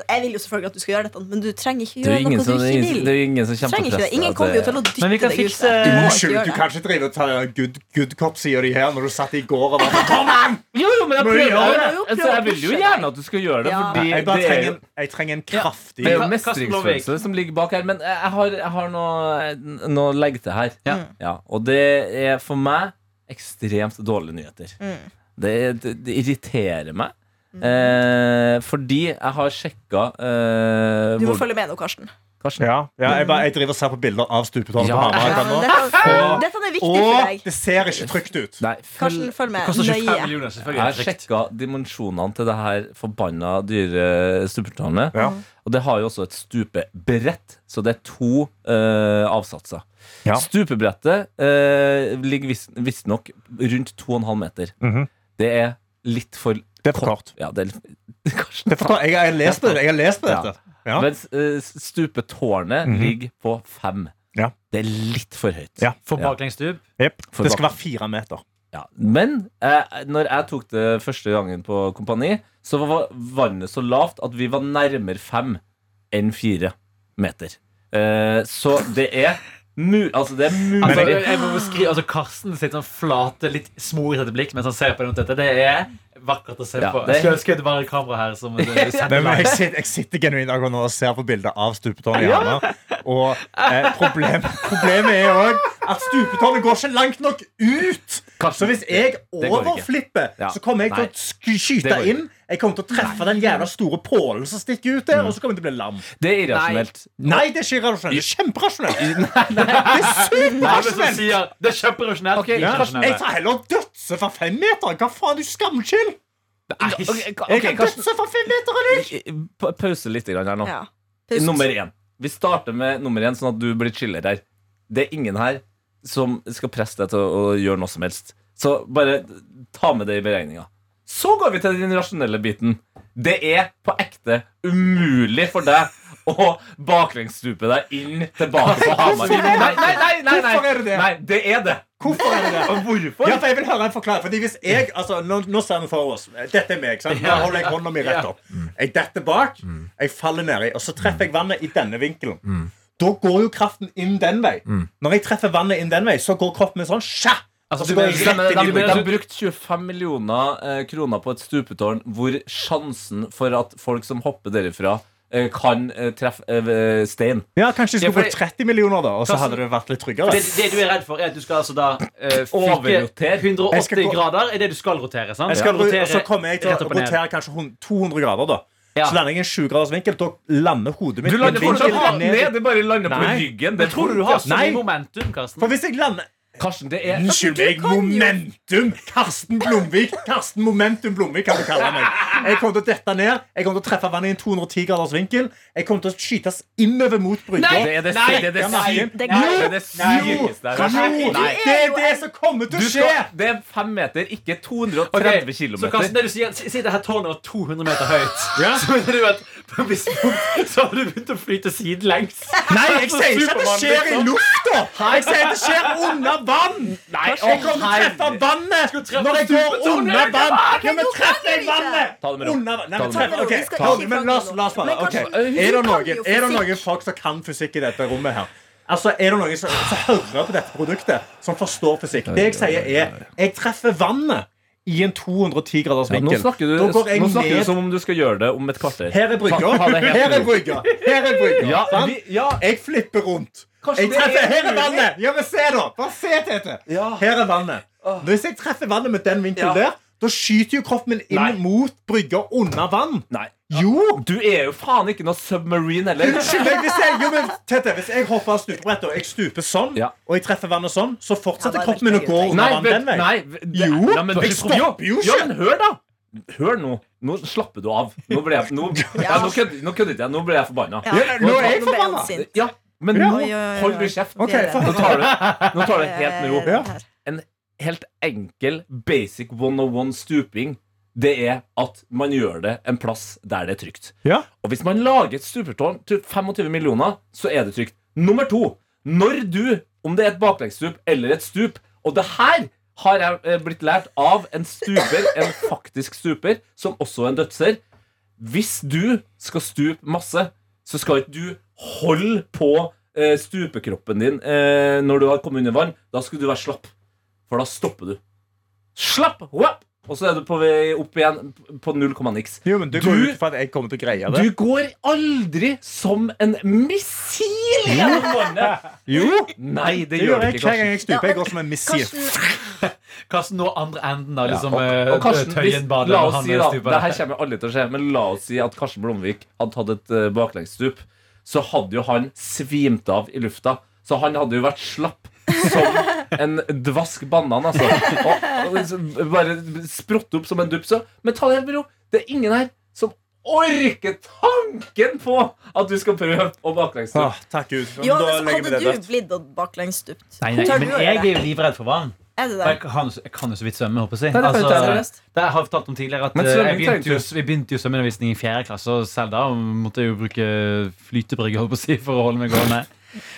[SPEAKER 4] Jeg vil jo selvfølgelig at du skal gjøre dette, men du trenger ikke
[SPEAKER 3] Det er
[SPEAKER 4] gjøre
[SPEAKER 3] jo ingen
[SPEAKER 4] noe du
[SPEAKER 3] som, det er
[SPEAKER 4] ikke
[SPEAKER 3] ingen-
[SPEAKER 4] vil.
[SPEAKER 3] det er ingen som
[SPEAKER 4] Du trenger
[SPEAKER 3] kjemper
[SPEAKER 4] ikke det. Ingen kommer jo til å dytte
[SPEAKER 2] Men vi kan
[SPEAKER 4] deg ut
[SPEAKER 2] fikse-
[SPEAKER 4] der. Du må Eh, ikke gjøre
[SPEAKER 5] Unnskyld, du
[SPEAKER 4] det.
[SPEAKER 5] kan ikke drive og ta good, good cop-sida di her når du satt i går og var sånn, Kom an!
[SPEAKER 3] Jo, jo, men jeg
[SPEAKER 5] Men
[SPEAKER 3] prøver
[SPEAKER 5] ja,
[SPEAKER 3] det.
[SPEAKER 4] jo,
[SPEAKER 3] Altså, jeg vil jo
[SPEAKER 4] prøver.
[SPEAKER 3] gjerne at du skal gjøre det,
[SPEAKER 4] Ja.
[SPEAKER 3] fordi
[SPEAKER 5] Jeg bare
[SPEAKER 3] det er
[SPEAKER 5] trenger,
[SPEAKER 3] jo
[SPEAKER 5] en- jeg trenger en
[SPEAKER 3] det
[SPEAKER 5] kraftig
[SPEAKER 3] er jo
[SPEAKER 2] Karsten Blomvik.
[SPEAKER 3] mestringsfølelse som ligger bak her. Men jeg har, jeg har noe, noe å legge til her.
[SPEAKER 2] Ja.
[SPEAKER 5] Mm.
[SPEAKER 3] Ja, og det er for meg ekstremt dårlige nyheter.
[SPEAKER 4] Mm.
[SPEAKER 3] Det, det, det irriterer meg. Eh, fordi jeg har sjekka eh,
[SPEAKER 4] Du må
[SPEAKER 3] hvor-
[SPEAKER 4] følge med nå, Karsten.
[SPEAKER 3] Karsten,
[SPEAKER 5] Ja, ja jeg, bare, jeg driver og ser på bilder av stupetårnet
[SPEAKER 3] Ja.
[SPEAKER 5] på Hamar.
[SPEAKER 4] Ja,
[SPEAKER 5] akkurat
[SPEAKER 4] men
[SPEAKER 5] nå.
[SPEAKER 4] dette,
[SPEAKER 5] Og-
[SPEAKER 4] dette er viktig for
[SPEAKER 5] Og det
[SPEAKER 4] deg.
[SPEAKER 5] ser ikke trygt ut.
[SPEAKER 3] Nei, følg,
[SPEAKER 4] Karsten, følg med.
[SPEAKER 2] Koster 25
[SPEAKER 4] Nøye.
[SPEAKER 2] millioner,
[SPEAKER 3] jeg har
[SPEAKER 2] selvfølgelig. Perfekt.
[SPEAKER 3] sjekka dimensjonene til det her forbanna dyre stupetårnet.
[SPEAKER 5] Ja.
[SPEAKER 3] Og det har jo også et stupebrett, så det er to eh, avsatser.
[SPEAKER 5] Ja.
[SPEAKER 3] Stupebrettet eh, ligger vis- visstnok rundt 2,5 meter.
[SPEAKER 5] Mhm.
[SPEAKER 3] Det er litt for
[SPEAKER 5] Det er for kort.
[SPEAKER 3] Ja, det er litt, Karsten,
[SPEAKER 5] Det forstår, jeg. jeg har lest det. Jeg har lest
[SPEAKER 3] Ja.
[SPEAKER 5] dette. Ja.
[SPEAKER 3] Mens eh, stupetårnet
[SPEAKER 5] Mhm.
[SPEAKER 3] ligger på fem.
[SPEAKER 5] Ja.
[SPEAKER 3] Det er litt for høyt.
[SPEAKER 5] Ja.
[SPEAKER 2] For baklengsstup.
[SPEAKER 5] Jep.
[SPEAKER 3] For
[SPEAKER 5] Det skal
[SPEAKER 3] bak-
[SPEAKER 5] være fire meter.
[SPEAKER 3] Ja. Men eh, når jeg tok det første gangen på kompani, så var vannet så lavt at vi var nærmere fem enn fire meter. Eh, så det er mu altså det er mulig
[SPEAKER 2] Altså,
[SPEAKER 5] Men jeg-
[SPEAKER 2] jeg må bare skrive, altså Karsten sitt sånn flate, litt smorete blikk mens han ser på det rundt dette. Det er vakkert å se
[SPEAKER 3] Ja,
[SPEAKER 2] på.
[SPEAKER 3] det er-
[SPEAKER 2] Skulle ønske det var et kamera her som det, det
[SPEAKER 5] Nei,
[SPEAKER 2] sender
[SPEAKER 5] men
[SPEAKER 2] live.
[SPEAKER 5] jeg sitter, jeg sitter genuint akkurat nå og ser på bildet av stupetårnet i Hamar. Og eh, problem, problemet er òg at stupetårnet går ikke langt nok ut. Så hvis jeg
[SPEAKER 3] det går ikke.
[SPEAKER 5] overflipper,
[SPEAKER 3] Ja.
[SPEAKER 5] så kommer jeg til
[SPEAKER 3] Nei.
[SPEAKER 5] å sk- skyte
[SPEAKER 3] Det går ikke. Mm.
[SPEAKER 5] inn. Jeg kommer til å treffe den jævla store pålen som stikker ut der, og så kommer jeg til å bli lam.
[SPEAKER 3] Det er irrasjonelt.
[SPEAKER 5] Nei, det er ikke irrasjonelt. Det er kjemperasjonelt. Det er
[SPEAKER 2] Alle som
[SPEAKER 5] superrasjonelt.
[SPEAKER 2] sier det er kjemperasjonelt.
[SPEAKER 3] Ok,
[SPEAKER 2] Ja.
[SPEAKER 3] Karsten,
[SPEAKER 5] Jeg tar heller dødse fra fem meter. Hva faen, du skamskyld?
[SPEAKER 2] Nei.
[SPEAKER 3] Ok, ka-
[SPEAKER 5] Jeg
[SPEAKER 3] ok,
[SPEAKER 5] kan
[SPEAKER 3] Karsten,
[SPEAKER 5] dødse fra fem meter, eller?
[SPEAKER 3] pa- pause litt grann her nå.
[SPEAKER 4] Ja. Pust.
[SPEAKER 3] Nummer én. Vi starter med nummer én, sånn at du blir chiller her. Det er ingen her som skal presse deg til å, å gjøre noe som helst. Så bare ta med det i beregninga. Så går vi til den rasjonelle biten. Det er på ekte umulig for deg å baklengsstupe deg inn tilbake på Hamar.
[SPEAKER 5] Hvorfor er det
[SPEAKER 3] Nei,
[SPEAKER 5] det?
[SPEAKER 3] nei, nei, nei, nei.
[SPEAKER 5] Hvorfor er det det?
[SPEAKER 3] Nei, det er det.
[SPEAKER 5] Hvorfor er det det?
[SPEAKER 3] Og hvorfor?
[SPEAKER 5] Ja, for jeg vil høre en forklaring. Fordi hvis jeg, altså, nå, nå ser vi for oss Dette er meg. sant? Nå holder jeg hånda mi rett opp. Jeg detter bak, jeg faller nedi, og så treffer jeg vannet i denne vinkelen. Da går jo kraften inn den vei. Når jeg treffer vannet inn den vei, så går kroppen min sånn skja!
[SPEAKER 2] Altså,
[SPEAKER 5] Og
[SPEAKER 2] du
[SPEAKER 5] så går jeg
[SPEAKER 2] mener-
[SPEAKER 5] rett inn i
[SPEAKER 3] De
[SPEAKER 5] brygga.
[SPEAKER 3] har brukt 25 millioner eh, kroner på et stupetårn hvor sjansen for at folk som hopper derifra, eh, kan eh, treffe eh, stein.
[SPEAKER 5] Ja, kanskje jeg
[SPEAKER 2] Ja,
[SPEAKER 5] skulle
[SPEAKER 2] fordi-
[SPEAKER 5] få 30 millioner, da, og så
[SPEAKER 2] Karsten-
[SPEAKER 5] hadde det vært litt tryggere.
[SPEAKER 2] Det, det du er redd for, er at du skal altså da eh, fyke
[SPEAKER 3] Overrotere.
[SPEAKER 2] 180
[SPEAKER 5] Jeg skal gå-
[SPEAKER 2] grader. Er det du skal rotere, sant?
[SPEAKER 5] Jeg skal,
[SPEAKER 2] rotere
[SPEAKER 5] og så kommer jeg til å
[SPEAKER 2] rett opp og ned.
[SPEAKER 5] rotere kanskje hun- 200 grader, da.
[SPEAKER 2] Ja.
[SPEAKER 5] Så lander jeg i en 7 graders vinkel. Da lander hodet mitt
[SPEAKER 3] Du
[SPEAKER 5] i
[SPEAKER 3] lander fortsatt
[SPEAKER 5] vinkelen
[SPEAKER 3] hardt ned,
[SPEAKER 5] ned.
[SPEAKER 3] det bare lander på
[SPEAKER 5] Nei.
[SPEAKER 3] ryggen.
[SPEAKER 2] Men
[SPEAKER 3] Det
[SPEAKER 2] tror du du har så
[SPEAKER 5] Nei.
[SPEAKER 2] mye momentum, Karsten?
[SPEAKER 5] For hvis jeg lander
[SPEAKER 3] Karsten, det er
[SPEAKER 5] Unnskyld meg, Momentum! Karsten Blomvik! Karsten Momentum Blomvik kan du kalle meg. Jeg kommer til å dette ned. Jeg kommer til å treffe vannet i en 210 graders vinkel. Jeg kommer til å skytes innover mot brygga.
[SPEAKER 3] Det er det sy- det er det
[SPEAKER 5] Nei,
[SPEAKER 3] sy-
[SPEAKER 4] det
[SPEAKER 3] Nei,
[SPEAKER 4] går-
[SPEAKER 3] det er det sykeste jeg har sett.
[SPEAKER 5] Jo,
[SPEAKER 3] Nei.
[SPEAKER 5] det er det som kommer til
[SPEAKER 3] Du
[SPEAKER 5] å skje!
[SPEAKER 3] skal, det er fem meter, ikke 230
[SPEAKER 2] Ok, Så Karsten,
[SPEAKER 3] kilometer.
[SPEAKER 2] det du sier, si- si det her tårnet var 200 meter høyt.
[SPEAKER 5] Ja.
[SPEAKER 2] Så mener du at på et visst punkt så har du begynt å flyte sidelengs.
[SPEAKER 5] Nei, jeg sier ikke at det
[SPEAKER 2] Supermann,
[SPEAKER 5] skjer i
[SPEAKER 2] liksom.
[SPEAKER 5] lufta! Jeg sier at det skjer under vann! jeg kommer til å treffe vannet
[SPEAKER 2] treffe
[SPEAKER 5] når jeg går
[SPEAKER 2] stupet, så kommer du
[SPEAKER 5] under
[SPEAKER 2] til å
[SPEAKER 5] vann!
[SPEAKER 2] treffe
[SPEAKER 5] Ja, men treffer jeg
[SPEAKER 4] ikke.
[SPEAKER 5] vannet
[SPEAKER 3] Ta det med ro.
[SPEAKER 5] under vann? Nei,
[SPEAKER 3] Ta det
[SPEAKER 5] men
[SPEAKER 3] med
[SPEAKER 5] treffer-
[SPEAKER 4] ro.
[SPEAKER 5] ok,
[SPEAKER 4] Vi skal
[SPEAKER 5] ta
[SPEAKER 4] ikke
[SPEAKER 5] det- men
[SPEAKER 4] krangle
[SPEAKER 5] la oss-
[SPEAKER 4] nå.
[SPEAKER 5] la oss bare
[SPEAKER 4] Men
[SPEAKER 5] ok.
[SPEAKER 4] kanskje-
[SPEAKER 5] Er det
[SPEAKER 4] vi kan
[SPEAKER 5] noen,
[SPEAKER 4] jo
[SPEAKER 5] er det noen
[SPEAKER 4] fysikk.
[SPEAKER 5] folk som kan fysikk i dette rommet her? Altså, Er det noen som, som hører på dette produktet, som forstår fysikk? Det jeg sier, er jeg treffer vannet i en 210 graders vinkel.
[SPEAKER 3] Nå snakker, du,
[SPEAKER 5] da går jeg
[SPEAKER 3] nå snakker du
[SPEAKER 5] ned
[SPEAKER 3] som om du skal gjøre det om et kvarter.
[SPEAKER 5] Her er brygga.
[SPEAKER 3] Ta- ta det helt
[SPEAKER 5] Her
[SPEAKER 3] med
[SPEAKER 5] er
[SPEAKER 3] ro.
[SPEAKER 5] brygga. Her er brygga.
[SPEAKER 3] Ja,
[SPEAKER 5] sant?
[SPEAKER 3] vi, ja,
[SPEAKER 5] Jeg flipper rundt.
[SPEAKER 3] Karsten,
[SPEAKER 5] jeg
[SPEAKER 3] det
[SPEAKER 5] treffer
[SPEAKER 3] er
[SPEAKER 5] Her er
[SPEAKER 3] mulig.
[SPEAKER 5] vannet! Ja, men se, da! Bare se, Tete.
[SPEAKER 3] Ja.
[SPEAKER 5] Her er vannet. Hvis jeg treffer vannet med den vinkelen
[SPEAKER 3] Ja.
[SPEAKER 5] der, da skyter jo kroppen min inn
[SPEAKER 3] Nei.
[SPEAKER 5] mot brygga under vann.
[SPEAKER 3] nei.
[SPEAKER 5] Jo!
[SPEAKER 3] Du er jo faen ikke noe submarine heller.
[SPEAKER 5] Unnskyld meg, hvis jeg, jo, men, Tete, hvis jeg hopper av stupebrettet og jeg stuper sånn,
[SPEAKER 3] Ja.
[SPEAKER 5] og jeg treffer vannet sånn, så
[SPEAKER 4] Ja, det
[SPEAKER 5] fortsetter
[SPEAKER 4] er
[SPEAKER 5] kroppen min å
[SPEAKER 4] veldig
[SPEAKER 5] gå
[SPEAKER 4] gøy.
[SPEAKER 5] under vann
[SPEAKER 3] vent,
[SPEAKER 5] den veien.
[SPEAKER 3] nei, det-
[SPEAKER 5] Jo,
[SPEAKER 3] Nei, men,
[SPEAKER 5] jeg
[SPEAKER 3] du-
[SPEAKER 5] stopper jo
[SPEAKER 3] Ja,
[SPEAKER 5] ikke.
[SPEAKER 3] men hør, da! Hør nå. Nå slapper du av. Nå ble jeg Nå, ja. nå kødder nå kødder ikke jeg. Nå ble jeg forbanna.
[SPEAKER 4] Ja.
[SPEAKER 5] Ja, nå er jeg
[SPEAKER 4] Nå ble han
[SPEAKER 5] forbanna.
[SPEAKER 4] sint.
[SPEAKER 3] Ja, men
[SPEAKER 5] Ja.
[SPEAKER 3] nå
[SPEAKER 4] Oi, oi, oi, oi.
[SPEAKER 3] holder du kjeft.
[SPEAKER 5] Ok,
[SPEAKER 4] Det er
[SPEAKER 5] for-
[SPEAKER 3] Nå tar du nå tar du det helt med ro.
[SPEAKER 5] Ja.
[SPEAKER 4] Her.
[SPEAKER 3] Helt enkel, basic one-on-one stuping. Det er at man gjør det en plass der det er trygt.
[SPEAKER 5] Ja.
[SPEAKER 3] Og hvis man lager et supertårn til 25 millioner, så er det trygt. Nummer to. Når du, om det er et baklengsstup eller et stup Og det her har jeg eh, blitt lært av en stuper, en faktisk stuper, som også er en dødser. Hvis du skal stupe masse, så skal ikke du holde på eh, stupekroppen din eh, når du har kommet under vann. Da skal du være slapp, for da stopper du. Slapp! Wap! Og så er du på vei opp igjen på null komma niks.
[SPEAKER 5] Jo, men Du
[SPEAKER 3] Du-
[SPEAKER 5] går ut fra at jeg kommer til å greie det.
[SPEAKER 3] Du går aldri som en missil gjennom vannet!
[SPEAKER 5] jo,
[SPEAKER 3] Nei, det
[SPEAKER 5] det gjør
[SPEAKER 3] gjør du
[SPEAKER 5] jeg
[SPEAKER 3] ikke.
[SPEAKER 5] hver
[SPEAKER 3] Karsten.
[SPEAKER 5] gang jeg stuper. Jeg går som en missil.
[SPEAKER 4] Karsten,
[SPEAKER 2] Karsten nå andre enden av liksom,
[SPEAKER 3] Ja,
[SPEAKER 2] eh,
[SPEAKER 3] og, og Karsten, hvis,
[SPEAKER 2] Tøyen badet.
[SPEAKER 3] la
[SPEAKER 2] når
[SPEAKER 3] oss
[SPEAKER 2] han
[SPEAKER 3] si da,
[SPEAKER 2] stuper.
[SPEAKER 3] det her kommer aldri til å skje, men la oss si at Karsten Blomvik hadde tatt et eh, baklengsstup, så hadde jo han svimt av i lufta. Så han hadde jo vært slapp som en dvask banan, altså. Og, og liksom bare sprått opp som en dupp. Så, men ta det helt med ro. Det er ingen her som orker tanken på at du skal prøve å baklengsstup.
[SPEAKER 5] Åh, takk Gud. Men da
[SPEAKER 4] Johannes,
[SPEAKER 5] legger vi
[SPEAKER 4] hadde
[SPEAKER 5] det
[SPEAKER 4] du
[SPEAKER 5] dødt.
[SPEAKER 4] blitt baklengsstupt?
[SPEAKER 2] Nei, nei,
[SPEAKER 4] Tør
[SPEAKER 2] men
[SPEAKER 4] du å
[SPEAKER 2] jeg
[SPEAKER 4] gjøre
[SPEAKER 2] er
[SPEAKER 4] det?
[SPEAKER 2] jo livredd for vann.
[SPEAKER 4] Er det
[SPEAKER 2] Og Jeg
[SPEAKER 4] det?
[SPEAKER 2] kan, jeg kan jo så vidt svømme, håper jeg. å
[SPEAKER 3] Nei,
[SPEAKER 2] si.
[SPEAKER 3] det kan du ikke.
[SPEAKER 2] Altså, det har jeg fortalt om tidligere at
[SPEAKER 3] Men
[SPEAKER 2] eh, jeg
[SPEAKER 3] svømming trenger
[SPEAKER 2] begynte jo,
[SPEAKER 3] ikke.
[SPEAKER 2] vi begynte jo svømmeundervisning i fjerde klasse, og selv da måtte jeg jo bruke flytebrygge holdt på å si, for å holde meg gående.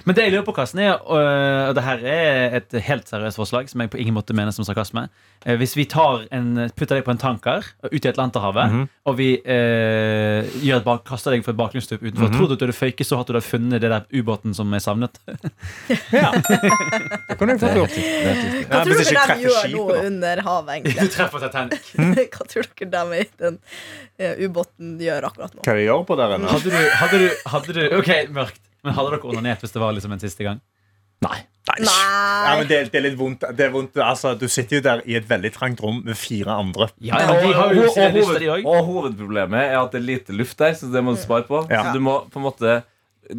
[SPEAKER 2] Men det jeg lurer på, Karsten, er, øh, og det her er et helt seriøst forslag, som jeg på ingen måte mener som sarkasme Eh, Hvis vi tar en, putter deg på en tanker ut i Atlanterhavet,
[SPEAKER 3] Mhm.
[SPEAKER 2] og vi eh, gjør et bak, kaster deg for et bakgrunnsstup utenfor,
[SPEAKER 3] Mhm.
[SPEAKER 2] tror du at du hadde føyket så hardt du hadde funnet det der ubåten som er savnet?
[SPEAKER 5] Det kunne jeg fått gjort.
[SPEAKER 4] Hva
[SPEAKER 5] Nei,
[SPEAKER 4] tror
[SPEAKER 5] hvis jeg
[SPEAKER 4] dere
[SPEAKER 5] ikke
[SPEAKER 4] de gjør nå
[SPEAKER 5] treffer skipet, da.
[SPEAKER 4] under havet,
[SPEAKER 2] Du
[SPEAKER 4] egentlig?
[SPEAKER 2] treffer Titanic.
[SPEAKER 4] Hva tror dere de i den eh, ubåten gjør akkurat nå?
[SPEAKER 5] Hva de gjør på der inne?
[SPEAKER 2] Hadde du, hadde du, hadde du Ok, mørkt. Men hadde dere onanert hvis det var liksom en siste gang?
[SPEAKER 3] Nei.
[SPEAKER 5] Ja, men
[SPEAKER 4] Nei!
[SPEAKER 5] det, det er litt vondt. Det er vondt. Altså, du sitter jo der i et veldig trangt rom med fire andre.
[SPEAKER 2] Ja,
[SPEAKER 3] Og,
[SPEAKER 2] de har jo
[SPEAKER 3] og,
[SPEAKER 2] sine
[SPEAKER 3] og,
[SPEAKER 2] lyster, de
[SPEAKER 3] hoved,
[SPEAKER 2] òg.
[SPEAKER 3] og hovedproblemet er at det er lite luft der, så det må du spare på.
[SPEAKER 5] Ja.
[SPEAKER 3] Så du må på en måte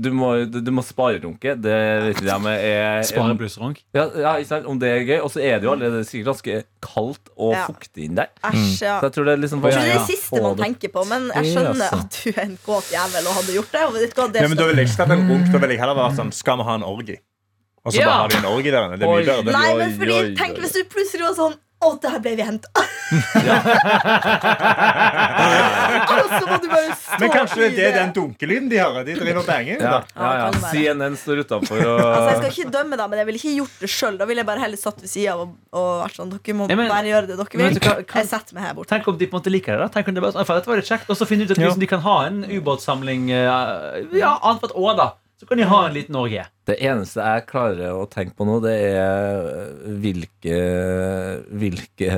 [SPEAKER 3] du må, du må sparerunke. Det vet ikke jeg om er
[SPEAKER 2] Spare blussrunk.
[SPEAKER 3] Ja, ja, ikke sant? Om det er gøy. Og så er det jo allerede sikkert ganske kaldt og
[SPEAKER 4] Ja.
[SPEAKER 3] fuktig inni der.
[SPEAKER 2] Mm.
[SPEAKER 4] Æsj, ja.
[SPEAKER 3] Så jeg tror det er liksom
[SPEAKER 4] Jeg tror det er
[SPEAKER 3] Ja,
[SPEAKER 4] det siste man
[SPEAKER 3] få det.
[SPEAKER 4] tenker på, men jeg skjønner
[SPEAKER 2] altså.
[SPEAKER 4] at du er en kåt jævel og hadde gjort det. Og vet du hva, det
[SPEAKER 5] Ja, men da
[SPEAKER 4] skal-
[SPEAKER 5] vil jeg ikke at en runk, da vil jeg heller være sånn Skal vi ha en orgi? Og så
[SPEAKER 3] Ja.
[SPEAKER 5] bare har de en orgi der inne. Det er
[SPEAKER 3] Oi.
[SPEAKER 5] mye bedre.
[SPEAKER 4] Nei,
[SPEAKER 3] Oi,
[SPEAKER 4] men fordi,
[SPEAKER 3] oi,
[SPEAKER 4] tenk
[SPEAKER 3] oi.
[SPEAKER 4] hvis du plutselig var sånn Å, der ble vi henta! og så må du bare stå
[SPEAKER 5] Men kanskje det
[SPEAKER 4] i
[SPEAKER 5] er den dunkelyden de hører? De driver og banger.
[SPEAKER 3] Ja,
[SPEAKER 5] Ja.
[SPEAKER 3] ja,
[SPEAKER 4] Ja, det
[SPEAKER 3] ja.
[SPEAKER 4] kan det
[SPEAKER 3] CNN står utafor
[SPEAKER 4] Altså, Jeg
[SPEAKER 3] og
[SPEAKER 4] skal ikke dømme deg, men jeg ville ikke gjort det sjøl. Da ville jeg bare heller satt ved sida av og, og vært sånn Dere må
[SPEAKER 2] Ja, men-
[SPEAKER 4] bare gjøre det dere
[SPEAKER 2] Men
[SPEAKER 4] vil.
[SPEAKER 2] vet du hva, kan-
[SPEAKER 4] Jeg setter meg her borte.
[SPEAKER 2] Tenk om de på en måte liker det. da Tenk om det bare, sånn, for dette var litt kjekt Og så finner de ut at liksom, de kan ha en ubåtsamling eh, Ja, annethvert år, da. Så kan de ha en liten orgie.
[SPEAKER 3] Det eneste jeg klarer å tenke på nå, det er hvilke, hvilke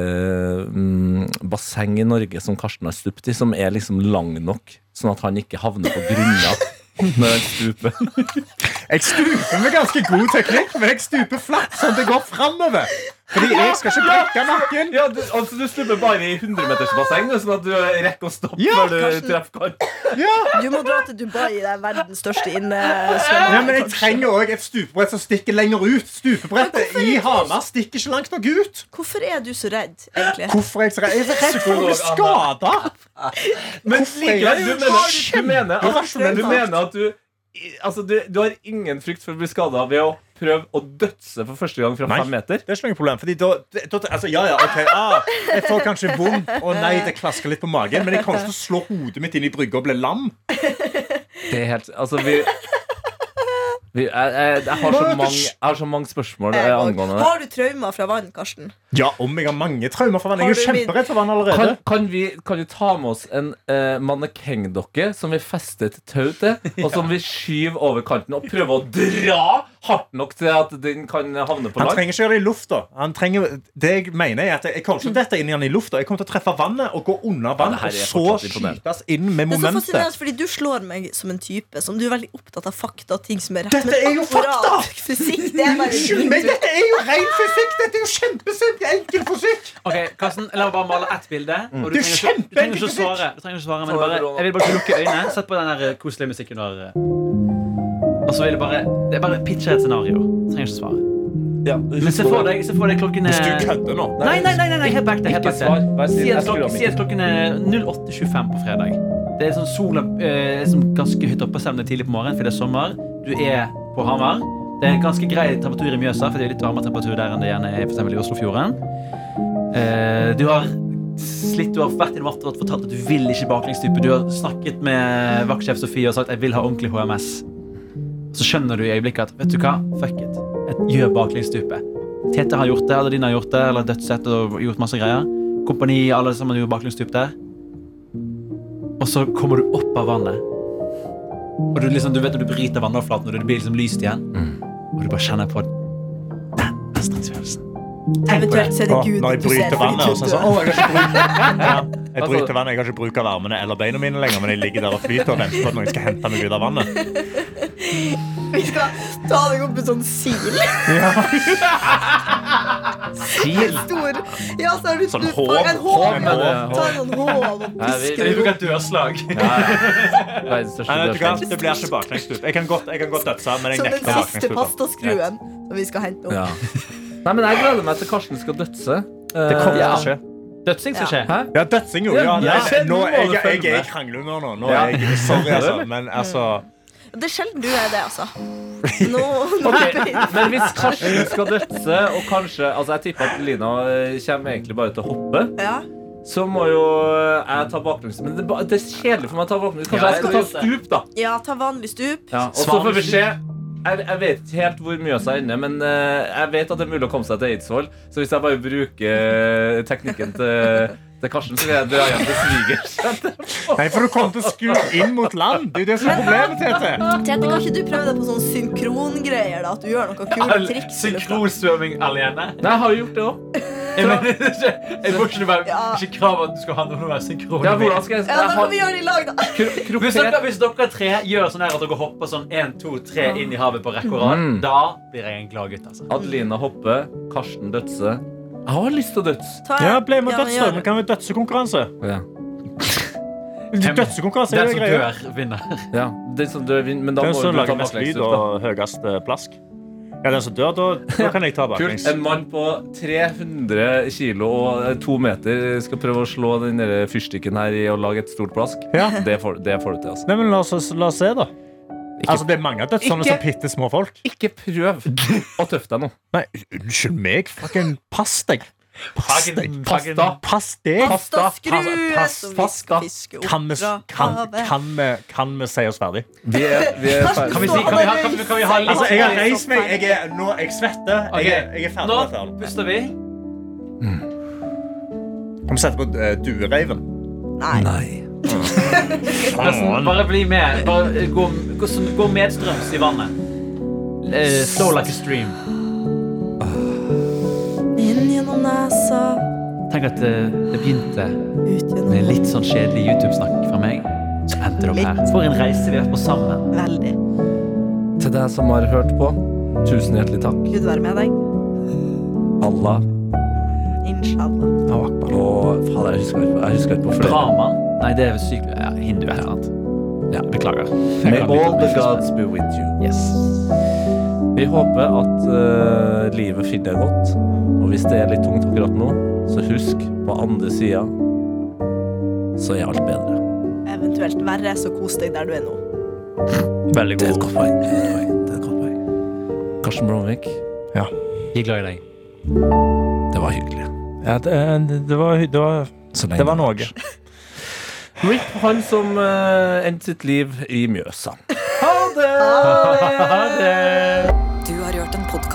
[SPEAKER 3] mm, basseng i Norge som Karsten har stupt i, som er liksom lang nok, sånn at han ikke havner på grunna når han stuper.
[SPEAKER 5] Jeg stuper med ganske god teknikk, men jeg stuper flatt sånn at det går framover. Fordi jeg skal ikke brekke nakken.
[SPEAKER 3] Ja, du, altså du stuper bare i 100-metersbasseng, sånn at du rekker å stoppe
[SPEAKER 5] Ja,
[SPEAKER 3] når du
[SPEAKER 5] Karsten.
[SPEAKER 3] treffer kanten.
[SPEAKER 4] Du må dra til Dubai, det er verdens største
[SPEAKER 5] Ja, men
[SPEAKER 4] innesvømming.
[SPEAKER 5] jeg trenger òg et stupebrett som stikker lenger ut. Stupebrettet i Hamar stikker ikke langt nok ut.
[SPEAKER 4] Hvorfor er du så redd, egentlig?
[SPEAKER 5] Hvorfor er jeg så redd? Jeg er redd for å bli
[SPEAKER 3] Psykolog,
[SPEAKER 5] skada.
[SPEAKER 3] Men likevel, du mener, du mener,
[SPEAKER 5] Kjempe-
[SPEAKER 3] at, du mener at du i- Altså, du, du har ingen frykt for å bli skada ved å prøve å dødse for første gang fra
[SPEAKER 5] Nei.
[SPEAKER 3] fem meter?
[SPEAKER 5] Det er ikke noe problem. Fordi da, da altså, Ja, ja, ok. Ah, jeg får kanskje vondt. Å nei, det klasker litt på magen. Men jeg kommer ikke til å slå hodet mitt inn i brygga og bli lam.
[SPEAKER 3] Det er helt Altså, vi, vi jeg, jeg, jeg, har så mange, jeg har så mange spørsmål eh, angående det.
[SPEAKER 4] Har du traumer fra vann, Karsten?
[SPEAKER 5] Ja, om jeg har mange traumer for vann. Jeg er jo
[SPEAKER 4] Har du min-
[SPEAKER 5] kjemperedd for vann
[SPEAKER 3] Kan,
[SPEAKER 5] allerede.
[SPEAKER 3] kan, vi, kan vi ta med oss en eh, mannekengdokke som vi fester et tau til, og som vi skyver over kanten og prøver å dra hardt nok til at den kan havne på
[SPEAKER 5] Han
[SPEAKER 3] land?
[SPEAKER 5] trenger ikke gjøre det i lufta. Han trenger, det jeg mener er at jeg kommer ikke til å dette inn i han i lufta. Jeg kommer til å treffe vannet og gå under vann,
[SPEAKER 3] Ja, det her
[SPEAKER 5] og
[SPEAKER 3] er
[SPEAKER 5] så
[SPEAKER 3] fortsatt imponerende.
[SPEAKER 5] skytes inn
[SPEAKER 4] Det
[SPEAKER 5] med
[SPEAKER 4] er så
[SPEAKER 5] momentet.
[SPEAKER 4] fascinerende, fordi Du slår meg som en type som du er veldig opptatt av fakta og ting som er rett.
[SPEAKER 5] Dette er jo
[SPEAKER 4] akkurat
[SPEAKER 5] fakta!
[SPEAKER 4] Fysikk, det er bare
[SPEAKER 5] Unnskyld meg, dette er jo ren fysikk! Dette er jo kjempesint! Enkel fysikk!
[SPEAKER 2] Ok, Karsten, La meg bare male ett bilde. Og du
[SPEAKER 5] Det er
[SPEAKER 2] trenger ikke- du trenger ikke å
[SPEAKER 5] kjempeenkelt.
[SPEAKER 2] svare. Du trenger ikke å svare men bare, jeg vil bare lukke øynene. Sett på den der eh, koselige musikken du har. eh. Og så vil jeg bare Det er bare pitche et scenario. Du trenger ikke å svare.
[SPEAKER 3] Ja,
[SPEAKER 2] Men se for deg, se for deg klokken
[SPEAKER 5] Hvis du
[SPEAKER 2] er
[SPEAKER 5] kødder nå
[SPEAKER 2] Nei, nei, nei, nei, nei, helt back det, helt
[SPEAKER 3] Ikke
[SPEAKER 2] back
[SPEAKER 3] svar.
[SPEAKER 2] det.
[SPEAKER 3] Vær snill,
[SPEAKER 2] Si
[SPEAKER 3] jeg
[SPEAKER 2] at
[SPEAKER 3] skrur
[SPEAKER 2] klokken,
[SPEAKER 3] av
[SPEAKER 2] si at klokken er 08.25 på fredag. Det er sånn sola eh, er sånn ganske høyt oppe, selv om det er tidlig på morgenen, for det er sommer. Du er på Hamar. Det er en ganske grei temperatur i Mjøsa, for det er litt varmere temperatur der enn det gjerne er for eksempel i Oslofjorden. Eh, du har slitt, du har vært innom Aftenbladet og fortalt at du vil ikke baklengstype. Du har snakket med vaktsjef Sofie og sagt 'jeg vil ha ordentlig HMS'. så skjønner du i øyeblikket at vet du hva, fuck it. Jeg gjør baklengsstupet. Tete har gjort det, eller Dina har gjort det, eller Dødssett og gjort masse greier. Kompani, alle sammen gjorde baklengsstup der. Og så kommer du opp av vannet. Og du, liksom, du vet at du bryter vannoverflaten, og det blir liksom lyst igjen. Og du bare kjenner på den mestringsfølelsen.
[SPEAKER 4] Eventuelt så er det
[SPEAKER 5] Åh,
[SPEAKER 4] Gud
[SPEAKER 5] når jeg
[SPEAKER 4] du ser
[SPEAKER 5] bryter
[SPEAKER 4] fordi
[SPEAKER 5] vannet, og så
[SPEAKER 4] Gud
[SPEAKER 5] er det sånn,
[SPEAKER 4] dør.
[SPEAKER 5] «Åh, jeg har ikke bruk- Ja, jeg
[SPEAKER 3] Altså-
[SPEAKER 5] bryter vannet, jeg har ikke bruk av armene eller beina mine lenger, men jeg ligger der og flyter og venter på at noen skal hente meg ut av vannet.
[SPEAKER 4] Vi skal ta deg opp i sånn sil.
[SPEAKER 3] Sil?
[SPEAKER 4] Stor. Ja, så er du
[SPEAKER 5] Sånn
[SPEAKER 4] du
[SPEAKER 5] håv.
[SPEAKER 4] får En håv.
[SPEAKER 5] Håv,
[SPEAKER 4] ja.
[SPEAKER 5] håv.
[SPEAKER 4] Ta en sånn håv og
[SPEAKER 3] Nei, vi-
[SPEAKER 4] pisker opp.
[SPEAKER 2] dørslag.
[SPEAKER 3] Verdens største
[SPEAKER 5] Nei, vet du hva?
[SPEAKER 3] dørstein.
[SPEAKER 5] Det blir ikke baklengsstup. Jeg kan godt, jeg kan godt dødse, men jeg
[SPEAKER 4] Som den
[SPEAKER 5] nekter
[SPEAKER 4] siste
[SPEAKER 5] baklengsstup.
[SPEAKER 4] pastaskruen som vi skal hente opp.
[SPEAKER 3] Ja. Nei, men jeg gleder meg til Karsten skal dødse.
[SPEAKER 5] Det kommer
[SPEAKER 3] Eh,
[SPEAKER 5] til å skje.
[SPEAKER 2] Dødsing skal skje.
[SPEAKER 3] Hæ?
[SPEAKER 5] Ja, dødsing, jo. Ja,
[SPEAKER 3] Ja,
[SPEAKER 5] nei,
[SPEAKER 3] ja.
[SPEAKER 5] nå, jeg, jeg, jeg er
[SPEAKER 3] Ja.
[SPEAKER 5] i kranglunger nå. nå er jeg, sorry, altså. Men altså
[SPEAKER 4] Det er sjelden du er det, altså. Nå, nå
[SPEAKER 3] Ok, Men hvis Karsten skal dødse, og kanskje Altså, jeg tipper at Lina eh, kommer egentlig bare til å hoppe,
[SPEAKER 4] ja.
[SPEAKER 3] så må jo eh, jeg ta baklengs. Men det, er ba- det er kjedelig for meg å ta baklengs.
[SPEAKER 2] Ja,
[SPEAKER 3] Kanskje jeg skal ta
[SPEAKER 2] jeg
[SPEAKER 3] stup, da.
[SPEAKER 4] ja, ta vanlig stup.
[SPEAKER 3] Ja, og så får vi se. Jeg, jeg vet ikke helt hvor Mjøsa er inne, men eh, jeg vet at det er mulig å komme seg til Eidsvoll. Så hvis jeg bare bruker eh, teknikken til, til Karsten, så vil jeg dra hjem til svigers.
[SPEAKER 5] Nei, for du kommer til å skue inn mot land. Det er jo det som er problemet, Tete.
[SPEAKER 4] Tete, kan ikke du prøve deg på sånn synkrongreier? da At du gjør noen kule triks? eller noe?
[SPEAKER 2] Synkronsvømming alene.
[SPEAKER 3] Nei, jeg har jo gjort det òg.
[SPEAKER 2] Jeg mener ikke Jeg får ikke, være,
[SPEAKER 4] Ja.
[SPEAKER 2] ikke krav at du skal ha noe å være synkron
[SPEAKER 3] Ja, hvordan skal jeg,
[SPEAKER 4] Ja, da
[SPEAKER 3] jeg
[SPEAKER 4] kan
[SPEAKER 3] har,
[SPEAKER 4] vi gjøre det i lag, da.
[SPEAKER 3] kro-
[SPEAKER 2] hvis
[SPEAKER 3] kroket-
[SPEAKER 2] dere, hvis dere tre gjør sånn her at dere hopper sånn 1, 2, 3 inn i havet på rekke og rad,
[SPEAKER 3] Mm.
[SPEAKER 2] da blir jeg en glad gutt. altså
[SPEAKER 3] Adelina Hoppe, Karsten Dødse. Jeg har lyst til å dødse.
[SPEAKER 4] Ta,
[SPEAKER 5] Ja, ble med
[SPEAKER 4] men gjør
[SPEAKER 5] dødsdøm.
[SPEAKER 4] det.
[SPEAKER 5] Vi kan ha dødsekonkurranse.
[SPEAKER 3] Ja.
[SPEAKER 5] Dødsekonkurranse
[SPEAKER 2] Den
[SPEAKER 5] er jo
[SPEAKER 2] som
[SPEAKER 5] greia.
[SPEAKER 2] dør, vinner.
[SPEAKER 3] Den som dør, vinner. Men da
[SPEAKER 5] Den
[SPEAKER 3] må
[SPEAKER 5] som
[SPEAKER 3] du ta
[SPEAKER 5] lager mest lyd
[SPEAKER 3] baklengsstøt.
[SPEAKER 5] og høyest eh, plask. Ja, den som dør, da, da kan jeg ta baklengs.
[SPEAKER 3] Kult. En mann på 300 kilo og eh, to meter skal prøve å slå den der fyrstikken her i å lage et stort plask.
[SPEAKER 5] Ja.
[SPEAKER 3] Det, får, det får du til, altså.
[SPEAKER 5] Nei, men la oss, la oss se, da. Altså, det er mange av dødsene
[SPEAKER 3] Ikke-
[SPEAKER 5] som pitter små folk.
[SPEAKER 3] Ikke prøv å tøffe deg nå.
[SPEAKER 5] Nei, unnskyld meg. Fucking pass deg. Pass deg.
[SPEAKER 3] Pass da.
[SPEAKER 5] Pass deg.
[SPEAKER 4] Pastaskrue
[SPEAKER 5] Pass-
[SPEAKER 4] som vi
[SPEAKER 5] pass-
[SPEAKER 4] skal fiske opp
[SPEAKER 5] Kan vi,
[SPEAKER 4] fra
[SPEAKER 5] kan,
[SPEAKER 4] havet.
[SPEAKER 5] kan, vi, kan vi si oss ferdig?
[SPEAKER 3] Vi er, vi er
[SPEAKER 4] Karsten
[SPEAKER 3] ferdig.
[SPEAKER 2] vi si-
[SPEAKER 4] står
[SPEAKER 2] kan vi ha-
[SPEAKER 4] og
[SPEAKER 2] kan vi- kan vi ha
[SPEAKER 4] reiser
[SPEAKER 2] litt-
[SPEAKER 5] Altså, jeg har reist meg.
[SPEAKER 4] opp her.
[SPEAKER 5] Jeg er, nå, jeg svetter. Jeg er, jeg er ferdig
[SPEAKER 2] Nå
[SPEAKER 5] med dette. her.
[SPEAKER 2] puster vi.
[SPEAKER 5] Kan vi sette på eh, duereiven?
[SPEAKER 4] Nei.
[SPEAKER 2] Karsten, Bare bli med. Bare gå, gå, gå medstrøms i vannet. Eh, Flow like a stream.
[SPEAKER 4] Inn gjennom nesa,
[SPEAKER 2] Tenk at eh, det begynte
[SPEAKER 4] ut
[SPEAKER 2] med
[SPEAKER 4] gjennom
[SPEAKER 2] litt sånn kjedelig YouTube-snakk fra meg. Så endte det opp her. For en reise vi har vært på sammen.
[SPEAKER 4] Veldig.
[SPEAKER 3] Til deg som har hørt på, tusen hjertelig takk.
[SPEAKER 4] Gud være med deg.
[SPEAKER 3] Allah
[SPEAKER 4] Inshallah.
[SPEAKER 3] og Fader, jeg husker ikke på- jeg husker ikke på flere.
[SPEAKER 2] Brahma? Nei, det er vel sykt ja, hindu et eller annet. Ja, beklager.
[SPEAKER 3] May all the gods be with you.
[SPEAKER 2] Yes.
[SPEAKER 3] Vi håper at eh, livet finner deg godt. Og hvis det er litt tungt akkurat nå, så husk på andre sida så er alt bedre.
[SPEAKER 4] Eventuelt verre, så kos deg der du er nå.
[SPEAKER 5] Veldig
[SPEAKER 3] Det er et godt poeng. Det er et poeng. Det er et godt poeng. Karsten Blomvik,
[SPEAKER 2] Jeg er glad i deg.
[SPEAKER 3] det var hyggelig.
[SPEAKER 5] Ja, det, eh, det, var, det, var,
[SPEAKER 3] Så lenge
[SPEAKER 5] det var noe.
[SPEAKER 3] Rip, han som eh, endte sitt liv i Mjøsa.
[SPEAKER 2] Ha det!
[SPEAKER 1] Du har hørt en